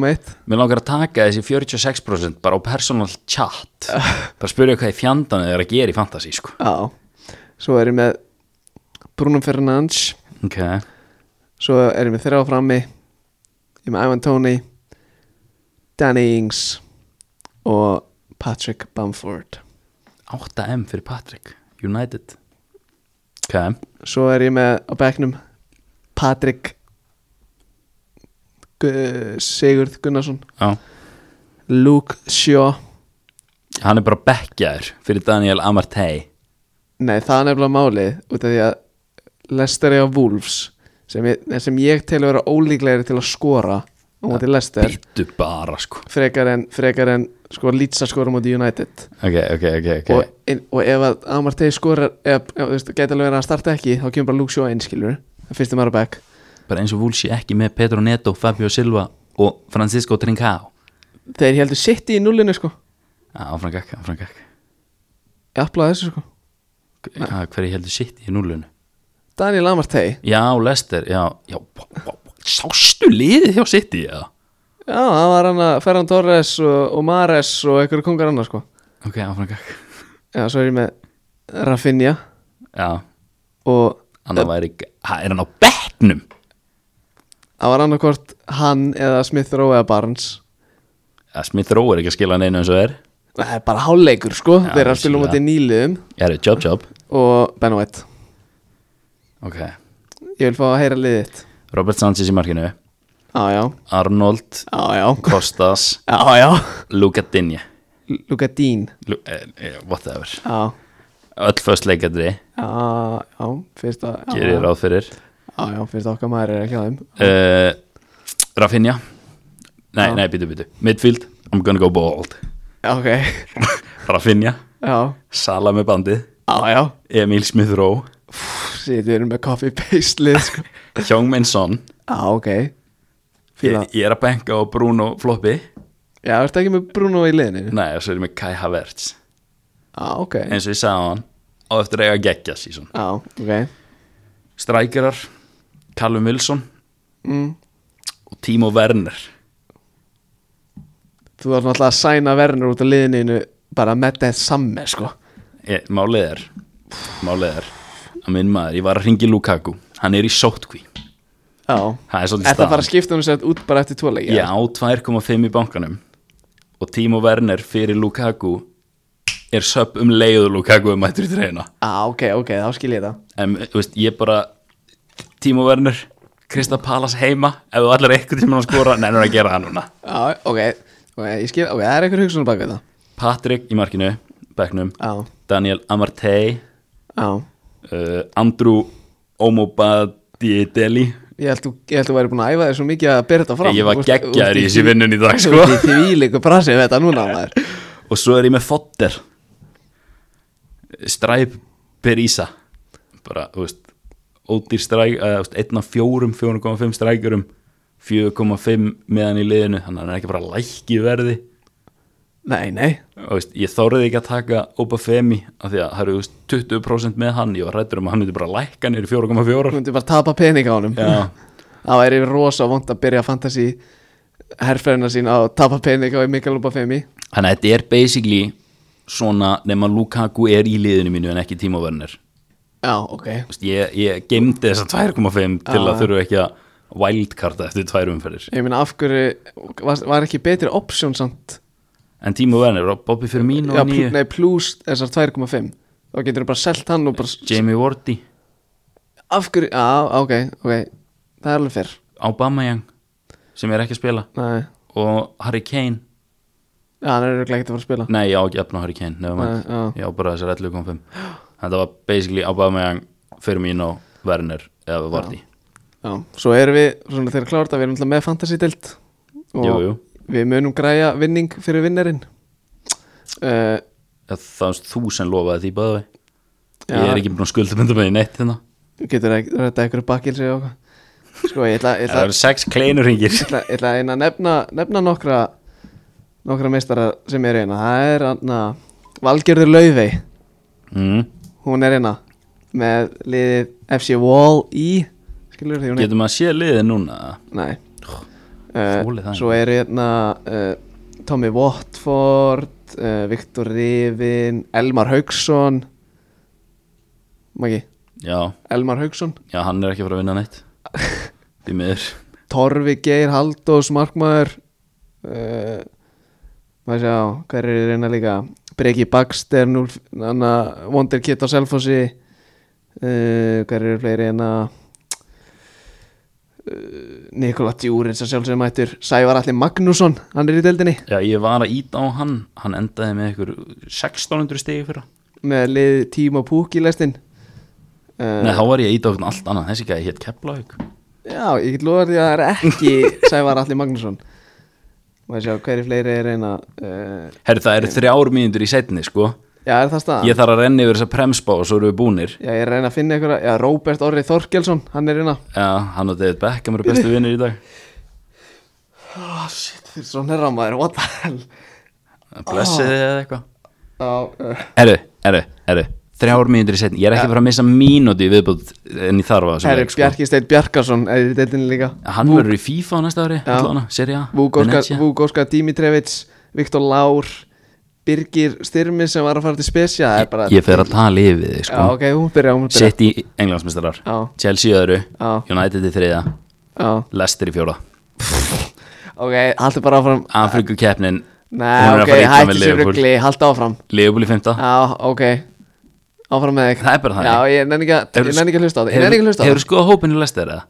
S2: mér langar að taka þessi 46% bara á personal chat Bara spyrja hvað ég fjandan er að gera í fantasy sko.
S1: Já Svo er ég með Bruno Fernandes
S2: Ok,
S1: Svo er ég með þrjá frammi Ég er með Ivan Toney Danny Ings Og Patrick Bamford
S2: 8M fyrir Patrick United Ok,
S1: Svo er ég með á bekknum Patrick Gu- Sigurð Gunnarsson
S2: já
S1: Luke Shaw
S2: Hann er bara bekkjaður fyrir Daniel Amartey
S1: Nei, það er nefnilega málið út af því að Lester er á Wolves sem ég, sem ég tel að vera ólíklegri til að skora á móti Lester
S2: Bittu bara sko
S1: frekar en, frekar en sko lýtsa skora á móti United
S2: Ok, ok, ok, ok
S1: og, en, og ef að Amartey skorar eða eða, þú veist, gæti alveg verið að hann starta ekki þá kemur bara Luke Shaw inn, skilur það fyrst um aðra back
S2: bara eins og Wolves sé ekki með Pedro Neto, Fabio Silva og Francisco Trincao
S1: þeir heldur sitt í nullinu sko
S2: Já, áfram gakk, áfram gakk
S1: ég aflaði þessu sko
S2: Hvað, hverju heldur sitt í núlunu?
S1: Daniel Amartey,
S2: Já, Lester, já, já bó, bó, bó. Sástu liðið hjá sitt í það?
S1: já, það var hann að Ferran Torres og, og Mares og einhverju kongar annar sko
S2: Ok, áfram gakk
S1: já, svo er ég með Rafinha
S2: Já,
S1: og
S2: hann væri, ha, er hann á bekknum?
S1: Það var annarkvort hann eða Smith Rowe eða Barnes
S2: Ja, Smith Rowe er ekki að skila hann einu eins og er
S1: Það er bara hálfleikur sko
S2: Já,
S1: Þeir eru að spila um
S2: vissulega.
S1: þetta í nýliðum
S2: Ég er job job
S1: og Ben White
S2: Ok,
S1: Ég vil fá að heyra liðið þitt
S2: Robert Sanchez í markinu
S1: Já, já,
S2: Arnold,
S1: já, já,
S2: Kostas
S1: já, já.
S2: Luka Dinje
S1: L- Luka Dín
S2: Lu, eh, eh, Whatever
S1: Já,
S2: Öll föst leikadri,
S1: já, já, fyrst að
S2: gerir
S1: já,
S2: ráð fyrir
S1: já, já, fyrst að okkar maður er ekki á þeim
S2: uh, Rafinha Nei,
S1: Já.
S2: nei, býtu, býtu Midfield, I'm gonna go bald
S1: Já, ok,
S2: Rafinha,
S1: já,
S2: Sala með bandið
S1: já, já
S2: Emil Smith-Rowe
S1: Sýtt, við erum með copy-paste lið, sko
S2: Hjóngmenn Son
S1: Já, ok Fíla
S2: ég, ég er að benka á Bruno Floppi
S1: Já, ertu ekki með Bruno í liðinu?
S2: Nei, og svo er ég með Kai Havertz
S1: Já, ok
S2: eins og ég sagði á hann á eftir að eiga geggja síson
S1: Já, ok
S2: Strækjarar, Callum Wilson
S1: mm.
S2: og Timo Werner
S1: Þú þarf náttúrulega að sæna verðnur út af liðinu bara með þetta samme, sko
S2: ég, Eh, Málið er Málið er að minn maður, ég var að ringi Lukaku hann er í sótkví
S1: Já
S2: Það er svolítið
S1: Þetta bara
S2: staðan
S1: að skipta hún sér út bara eftir tvo leikja
S2: Ég á 2,5 í bankanum og Timo Werner fyrir Lukaku er söp um leiðu Lukaku um mættur í treyna
S1: ah, ok, ok, þá skil ég það
S2: en þú veist, ég bara Timo Werner, Krista Palas heima ef þú allar eitthvað tíma að skora nennur að gera það núna
S1: Já, ok, ok, ég skil, ok, það er einhver hugsun bak við það
S2: Patrik í markinu, Becknum
S1: Já,
S2: Daniel Amartey
S1: já
S2: uh, Andrew Omobadiedeli
S1: Ég held þú, ég held þú væri búin að æfa þér svo mikið að byrja þetta fram
S2: ég var
S1: Þú ert-
S2: geggjaður
S1: þú
S2: í
S1: ert
S2: þessi
S1: því-
S2: vinnun í dag
S1: Þú
S2: sko.
S1: ert í því líku brasið við þetta núna, maður
S2: og svo er ég með Fodder Stræp Berísa bara, þú veist ódýr stræk, uh, þú veist, einn af fjórum 4,5 strækjurum 4,5 meðan í liðinu, þannig að hann er ekki bara lækki í verði
S1: Nei, nei,
S2: og veist, ég þóraði ekki að taka Obafemi af því að það eru þú veist, 20% með hann ég var rættur um að hann myndi bara lækka niður í 4,4
S1: þú myndir bara tapa pening á honum
S2: Já.
S1: Það væri rosa vond að byrja fantasy herrferðina sín á að tapa pening á Mikael Lubafemi
S2: Þannig að þetta er basically svona nema Lukaku er í liðinu mínu en ekki tímaverðinir
S1: Já, ok
S2: ég, ég gemdi þessa 2.5 til
S1: Já.
S2: að þurfu ekki að wildcarda eftir tvær umferðir
S1: Ég meina af hverju var, var ekki betri option samt
S2: en tímaverðinir, Bobby Firmino
S1: Já, pl,
S2: nýju,
S1: nei, plus þessar 2,5 Þá getur þú bara selt hann og bara
S2: Jamie Wardy
S1: Af hverju, já, ok, ok Það er alveg fyrr
S2: Aubameyang sem er ekki að spila
S1: Nei,
S2: og Harry Kane
S1: já, hann er örugglega ekkert að fara að spila
S2: Nei, ég á ekki efna Harry Kane nefnum
S1: Nei, já.
S2: að, ég á bara þessar 11.5 Þetta var basically Aubameyang, Firmino, Werner eða Vardy
S1: Já, svo erum við, svona þegar klárt að við erum alltaf með fantasy-delt Og
S2: Jú, jú.
S1: við munum græja vinning fyrir vinnerinn uh,
S2: Það varst þú sem lofaði því bæði
S1: Já.
S2: Ég er ekki búin að skulda mynda með í neitt hérna
S1: Getur ekki- þetta eitthvað bakkil sig og hvað Sko, ég ætla, ég
S2: Það
S1: ætla,
S2: eru sex kleinur hringir
S1: ég ætla, ég ætla að eina að nefna, nefna nokkra nokkra meistara sem er eina það er anna, Valgerður Laufey
S2: mm.
S1: hún er eina með liðið FC Wall í skilur því hún er
S2: Getum að sé liðið núna
S1: nei uh,
S2: Þoli það
S1: svo eru hérna uh, Tommy Watford uh, Viktor Rivin Elmar Haugsson maki,
S2: Já,
S1: Elmar Haugsson
S2: já, hann er ekki að fara að vinna neitt Því miður
S1: Torfi Geir Haldós Markmaður uh, maður sjá hver er reyna líka Breki Baxter núl- þarna, Wonder Kid á Selfossi uh, hver eru fleiri en að Nikola Djúrins að sjálfsögum mættur Sævar Alli Magnússon, hann er í deildinni
S2: Já, ég var að íta á hann Hann endaði með ykkur 1600 stegi fyrra
S1: með lið tíma púk í lestin uh,
S2: Nei, þá var ég að íta á eitthvað allt annað Þessi ekki að ég hétt Keflavík
S1: Já, ég get lofa því að það er ekki Sævar Alli Magnússon maður sjá hver er fleiri er reyna uh,
S2: Herri, það eru þrjár mínútur í setni, sko
S1: Já, er það staðan?
S2: Ég þarf að renna yfir þessa premsbá og svo eru við búnir
S1: Já, ég er að reyna að finna einhverja, já, Róbert Orri Þorkelsson, hann er hérna
S2: Já, hann og David Beckham eru bestu vinnir í dag
S1: Oh shit, þið er svo nærra maður, what the hell
S2: Blessið þið eða eitthvað
S1: Já, uh,
S2: Herru, herru, herru Þrjár mínútur í setni Ég er ekki að fara að missa mínúti viðbútt en ég þarf á þessum
S1: herri,
S2: leik, sko.
S1: Bjarki Steinn Bjarkarsson er í deildinni líka
S2: Hann verður í FIFA á næsta ári allavega, Serie A, Venezia.
S1: Vúgóska Dimitrevits, Viktor Lár Birgir Styrmi sem var að fara til Spesja það er bara,
S2: Ég fer að tala yfir þig
S1: já,
S2: sko.
S1: ok, hún byrja, hún byrja
S2: City, Englandsmestrar
S1: Já.
S2: Chelsea í öðru,
S1: Já.
S2: United í þriða
S1: Já,
S2: Leicester í fjóra
S1: ok, haldi bara áfram
S2: Afrikukeppnin,
S1: Nei, ok, hætti sér rugli, haldi áfram
S2: Leopold í fymta
S1: Já, ok áfram með þig
S2: Það er bara þannig.
S1: Já, ég nenni ekki að- ég nenni ekki að hlusta á það Ég nenni ekki að hlusta á
S2: Hefur
S1: það
S2: skoða hópin í lestir eða?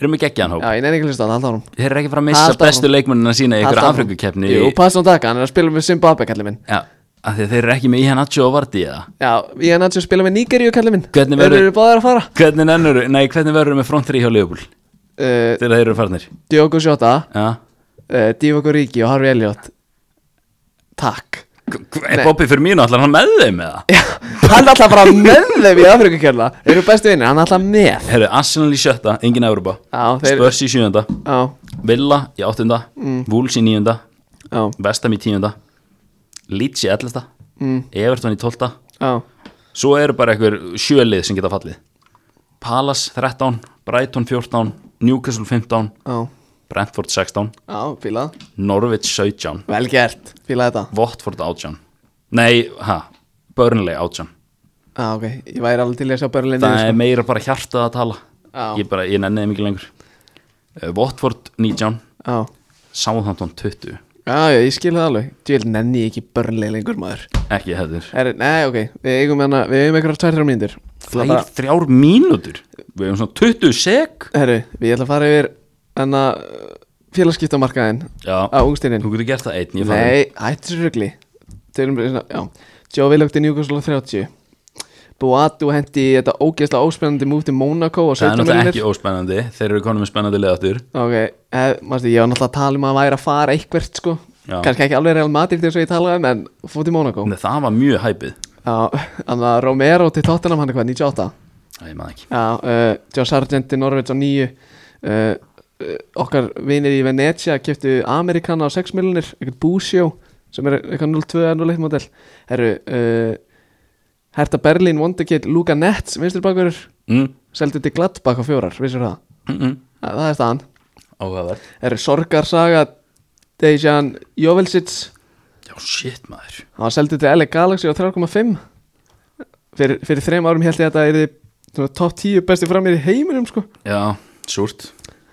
S2: Erum við geggjaðan hóp?
S1: Já, ég nenni ekki að hlusta á það, halda áfram
S2: Þeir eru ekki fara að missa
S1: Halda áfram.
S2: bestu leikmennina sína í
S1: Halda
S2: ykkur
S1: áfram.
S2: Afrikukeppni
S1: Jú, pass á taka, hann er að spila með Zimbabwe, kallið minn
S2: Já, af því að þeir eru ekki með Ihan Acho og Vardí eða
S1: Já, ég er náttúrulega að spila með Nigeríu, kallið minn
S2: Hvernig
S1: Þeir
S2: verður-
S1: eru báðir að fara
S2: Hvernig nennur, nei, hvernig verður með front 3 hjá Leopold?
S1: uh,
S2: Þegar þeir eru farnir
S1: Diogo Jota,
S2: Já
S1: uh, Diogo Ríki og Harvey Elliot Takk
S2: K- k- Er Bobby fyrir mínu allar hann með þeim eða?
S1: Já, hann er alltaf bara með þeim í Afrikakjörla Þeir eru bestu vinnir, hann er alltaf með
S2: Herru, Arsenal í sjötta, engin Európa
S1: Já, þeir-
S2: Spurs í sjönda
S1: Já,
S2: Villa í áttunda mm. Wolves í níunda
S1: já,
S2: Vestam í tíunda Leeds í ellesta mm. Everton í tólta
S1: já
S2: Svo eru bara einhver sjölið sem geta fallið Palace 13 Brighton 14 Newcastle 15
S1: Já,
S2: Brentford 16
S1: já, fílað
S2: Norwich 17
S1: Vel gert, fílað þetta
S2: Watford 18 Nei, ha, Burnley 18
S1: Já, ok, ég væri alveg til í að sjá Berlin
S2: Það er
S1: niður,
S2: meira bara hjartað að tala
S1: Já.
S2: Ég bara, ég nenniði mikið lengur Eh, Watford 19
S1: sko. Já,
S2: Southampton 20
S1: já, já, ég skil það alveg Djöld nenni ég ekki Berlin lengur maður
S2: Ekki hefður
S1: er, Nei, ok, við eigum hana, við eigum einhverjar tvær þrjár mínútur Það
S2: Þær þrjár mínútur Við hefum svona 20 sek
S1: Herru, við ætla að fara yfir hana félagskiptamarkaðin
S2: Já.
S1: á ungstinin
S2: Þú getur gert það einn, ég fann það.
S1: Nei, hættu svo rugli Tölum bara svona, já Joe Willock til Newcastle á 30 Boatu hendi í þetta ógeðslega óspennandi múf til Monaco og
S2: Það
S1: 17
S2: er náttúrulega ekki
S1: miljonir
S2: óspennandi Þeir eru konum með spennandi leðaftur
S1: Ok, eh, mástu, ég var náttúrulega að tala um að hann væri að fara eitthvert sko
S2: Já.
S1: Kannski ekki alveg Real Madrid þegar svo ég talaði um en fór til Monaco
S2: Nei, það var mjög hæpið
S1: Já, hann að Romero til Tottenham hann er hvað, 98
S2: Æ, ég maður ekki
S1: Já, uh, Josh Sargent til Norveits á 9 uh, uh, Okkar vinir í Venetia keftu Amerikana á 6 miljonir eitthvað Búsjó sem er eitthvað 02 eða 01 modell Herru uh, Herta Berlín, Wonderkid, Luka Nets vinstur bakur,
S2: mm.
S1: seldu til Gladbach á fjórar, vissur það?
S2: mm -mm.
S1: Að, það er staðan
S2: Áhugaverð
S1: Herru Sorgarsaga Dejan Jovelsic
S2: Já, shit maður
S1: hann var seldu til LA Galaxy á 3,5 fyrir, fyrir þrem árum held ég að þetta er top 10 besti framir í heiminum sko
S2: Já, súrt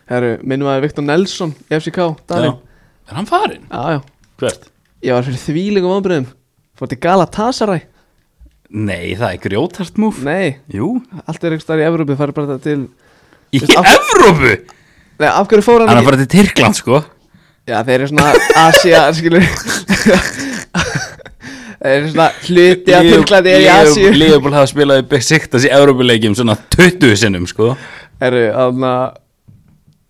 S1: Herru, minnum að Viktor Nelson í FCK,
S2: Já.
S1: Dalin
S2: Er hann farinn?
S1: Já, já,
S2: Hvert?
S1: ég var fyrir þvílingum ábröðum Fór til Galatasaray
S2: Nei, það er grjótart múf
S1: Nei,
S2: Jú
S1: allt er einhvers staðar í Evrópu farið bara til Nei,
S2: Í
S1: Veist, af-
S2: Evrópu
S1: af hverju fór hann
S2: Hann er
S1: ekki?
S2: bara til Tyrkland sko
S1: Já, þeir eru svona Asia, skilur Þeir eru svona hluti að Tyrklandi er í Asíu
S2: Leopold hafa spilað í Besiktas í Evrópuleikjum svona 20 sinnum sko
S1: Herru, þannig að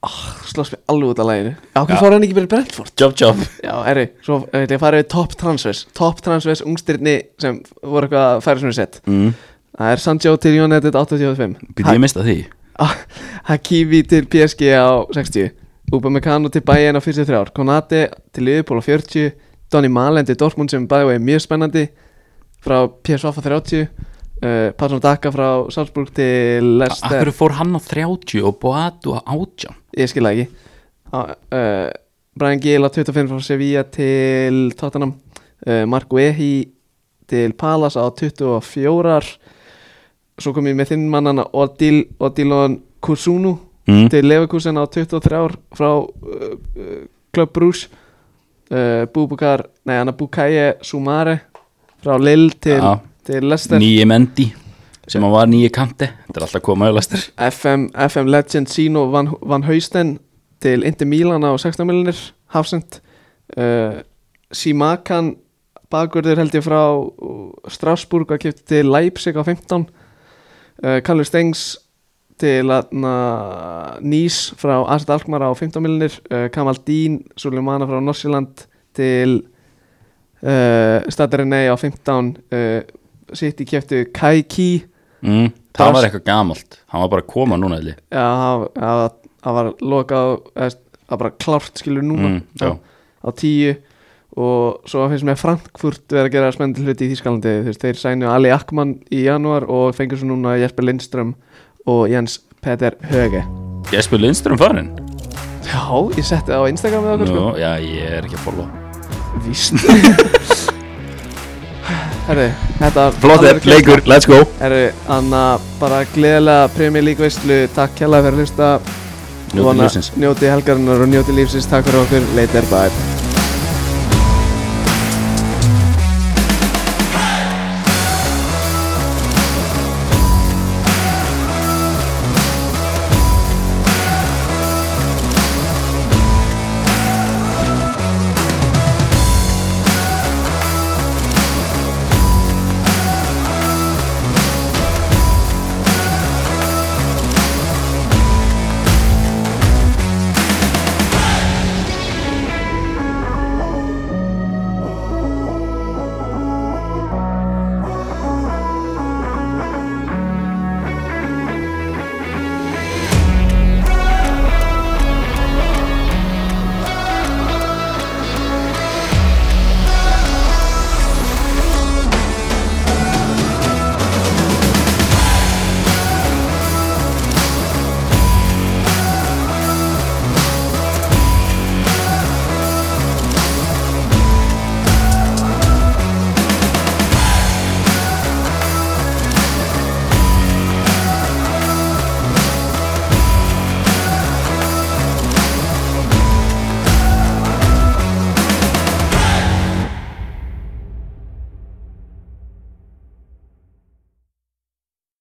S1: oh, Slóst mér alveg út af læginu Af
S2: Já.
S1: hverju fór hann ekki fyrir Brentford?
S2: Job job
S1: Já, herru, svo ætla ég að fara við top transfers Top transfers ungstirni sem voru eitthvað að færa svona sett
S2: mm.
S1: Það er Sancho til United 85
S2: Býtti ég mista því
S1: Ha- Hakimi til PSG á 60 Upamecano til Bayern á 43 ár Konate til Liverpool á 40 Donny Malen til Dortmund sem bæði er mjög spennandi frá PSV á 30 uh, Passan Daka frá Salzburg til
S2: Akkur
S1: Leicester
S2: fór hann á 30 og Boatu á 18
S1: Ég skil það ekki uh, uh, Brian Gill á 25 frá Sevilla til Tottenham uh, Mark Wehi til Palace á 24 ár. Svo kom ég með þinn mannana Odil, Odilon Kusunu
S2: Mm.
S1: til Leverkusen á 23 ár frá uh, uh, Club Bruce uh, Búbukar, nei hann að Bukaye Sumare frá Lille til,
S2: Já.
S1: til Leicester
S2: Nýji Mendi sem hann var nýji kanti Þetta er alltaf koma öðlastur
S1: FM, FM Legend Sino Van, Van Hausten til Inter Milan á 16 miljonir Hafsend uh, Simakan bakvörður held ég frá uh, Strasbourg að kipta til Leipzig á 15 uh, Kallur Stengs til atna, Nís frá Asad Alkmaar á 15 miljonir uh, Kamal Dín Suleimana frá Norsjöland til uh, Stadarinn á 15 uh, sitt í kjöftu Kai Ki
S2: mm. Það var eitthvað gamalt Hann var bara að koma núna eða
S1: Já, það- það það var lokað eða, það var bara klárt skilur núna
S2: Mm, já.
S1: á, á tíu og svo finnst mér Frankfurt verið að gera spennandi hluti í Þýskalandi þú veist, þeir sænu Ali Akman í janúar og fengur svo núna Jesper Lindström og Jens Petter Höge
S2: Jesper Lindström farinn
S1: Já, ég setti það á Instagram með okkur
S2: Nú, já, ég er ekki að follow
S1: sko Víst Herri, þetta var alveg kjafta.
S2: let's go
S1: Herri, Anna, bara gleðilega Premier League veistlu, takk kjalla fyrir að hlusta
S2: Njótið
S1: Vona-
S2: lífsins.
S1: Njótið helgarinnar og njótið lífsins, takk fyrir okkur, later, bye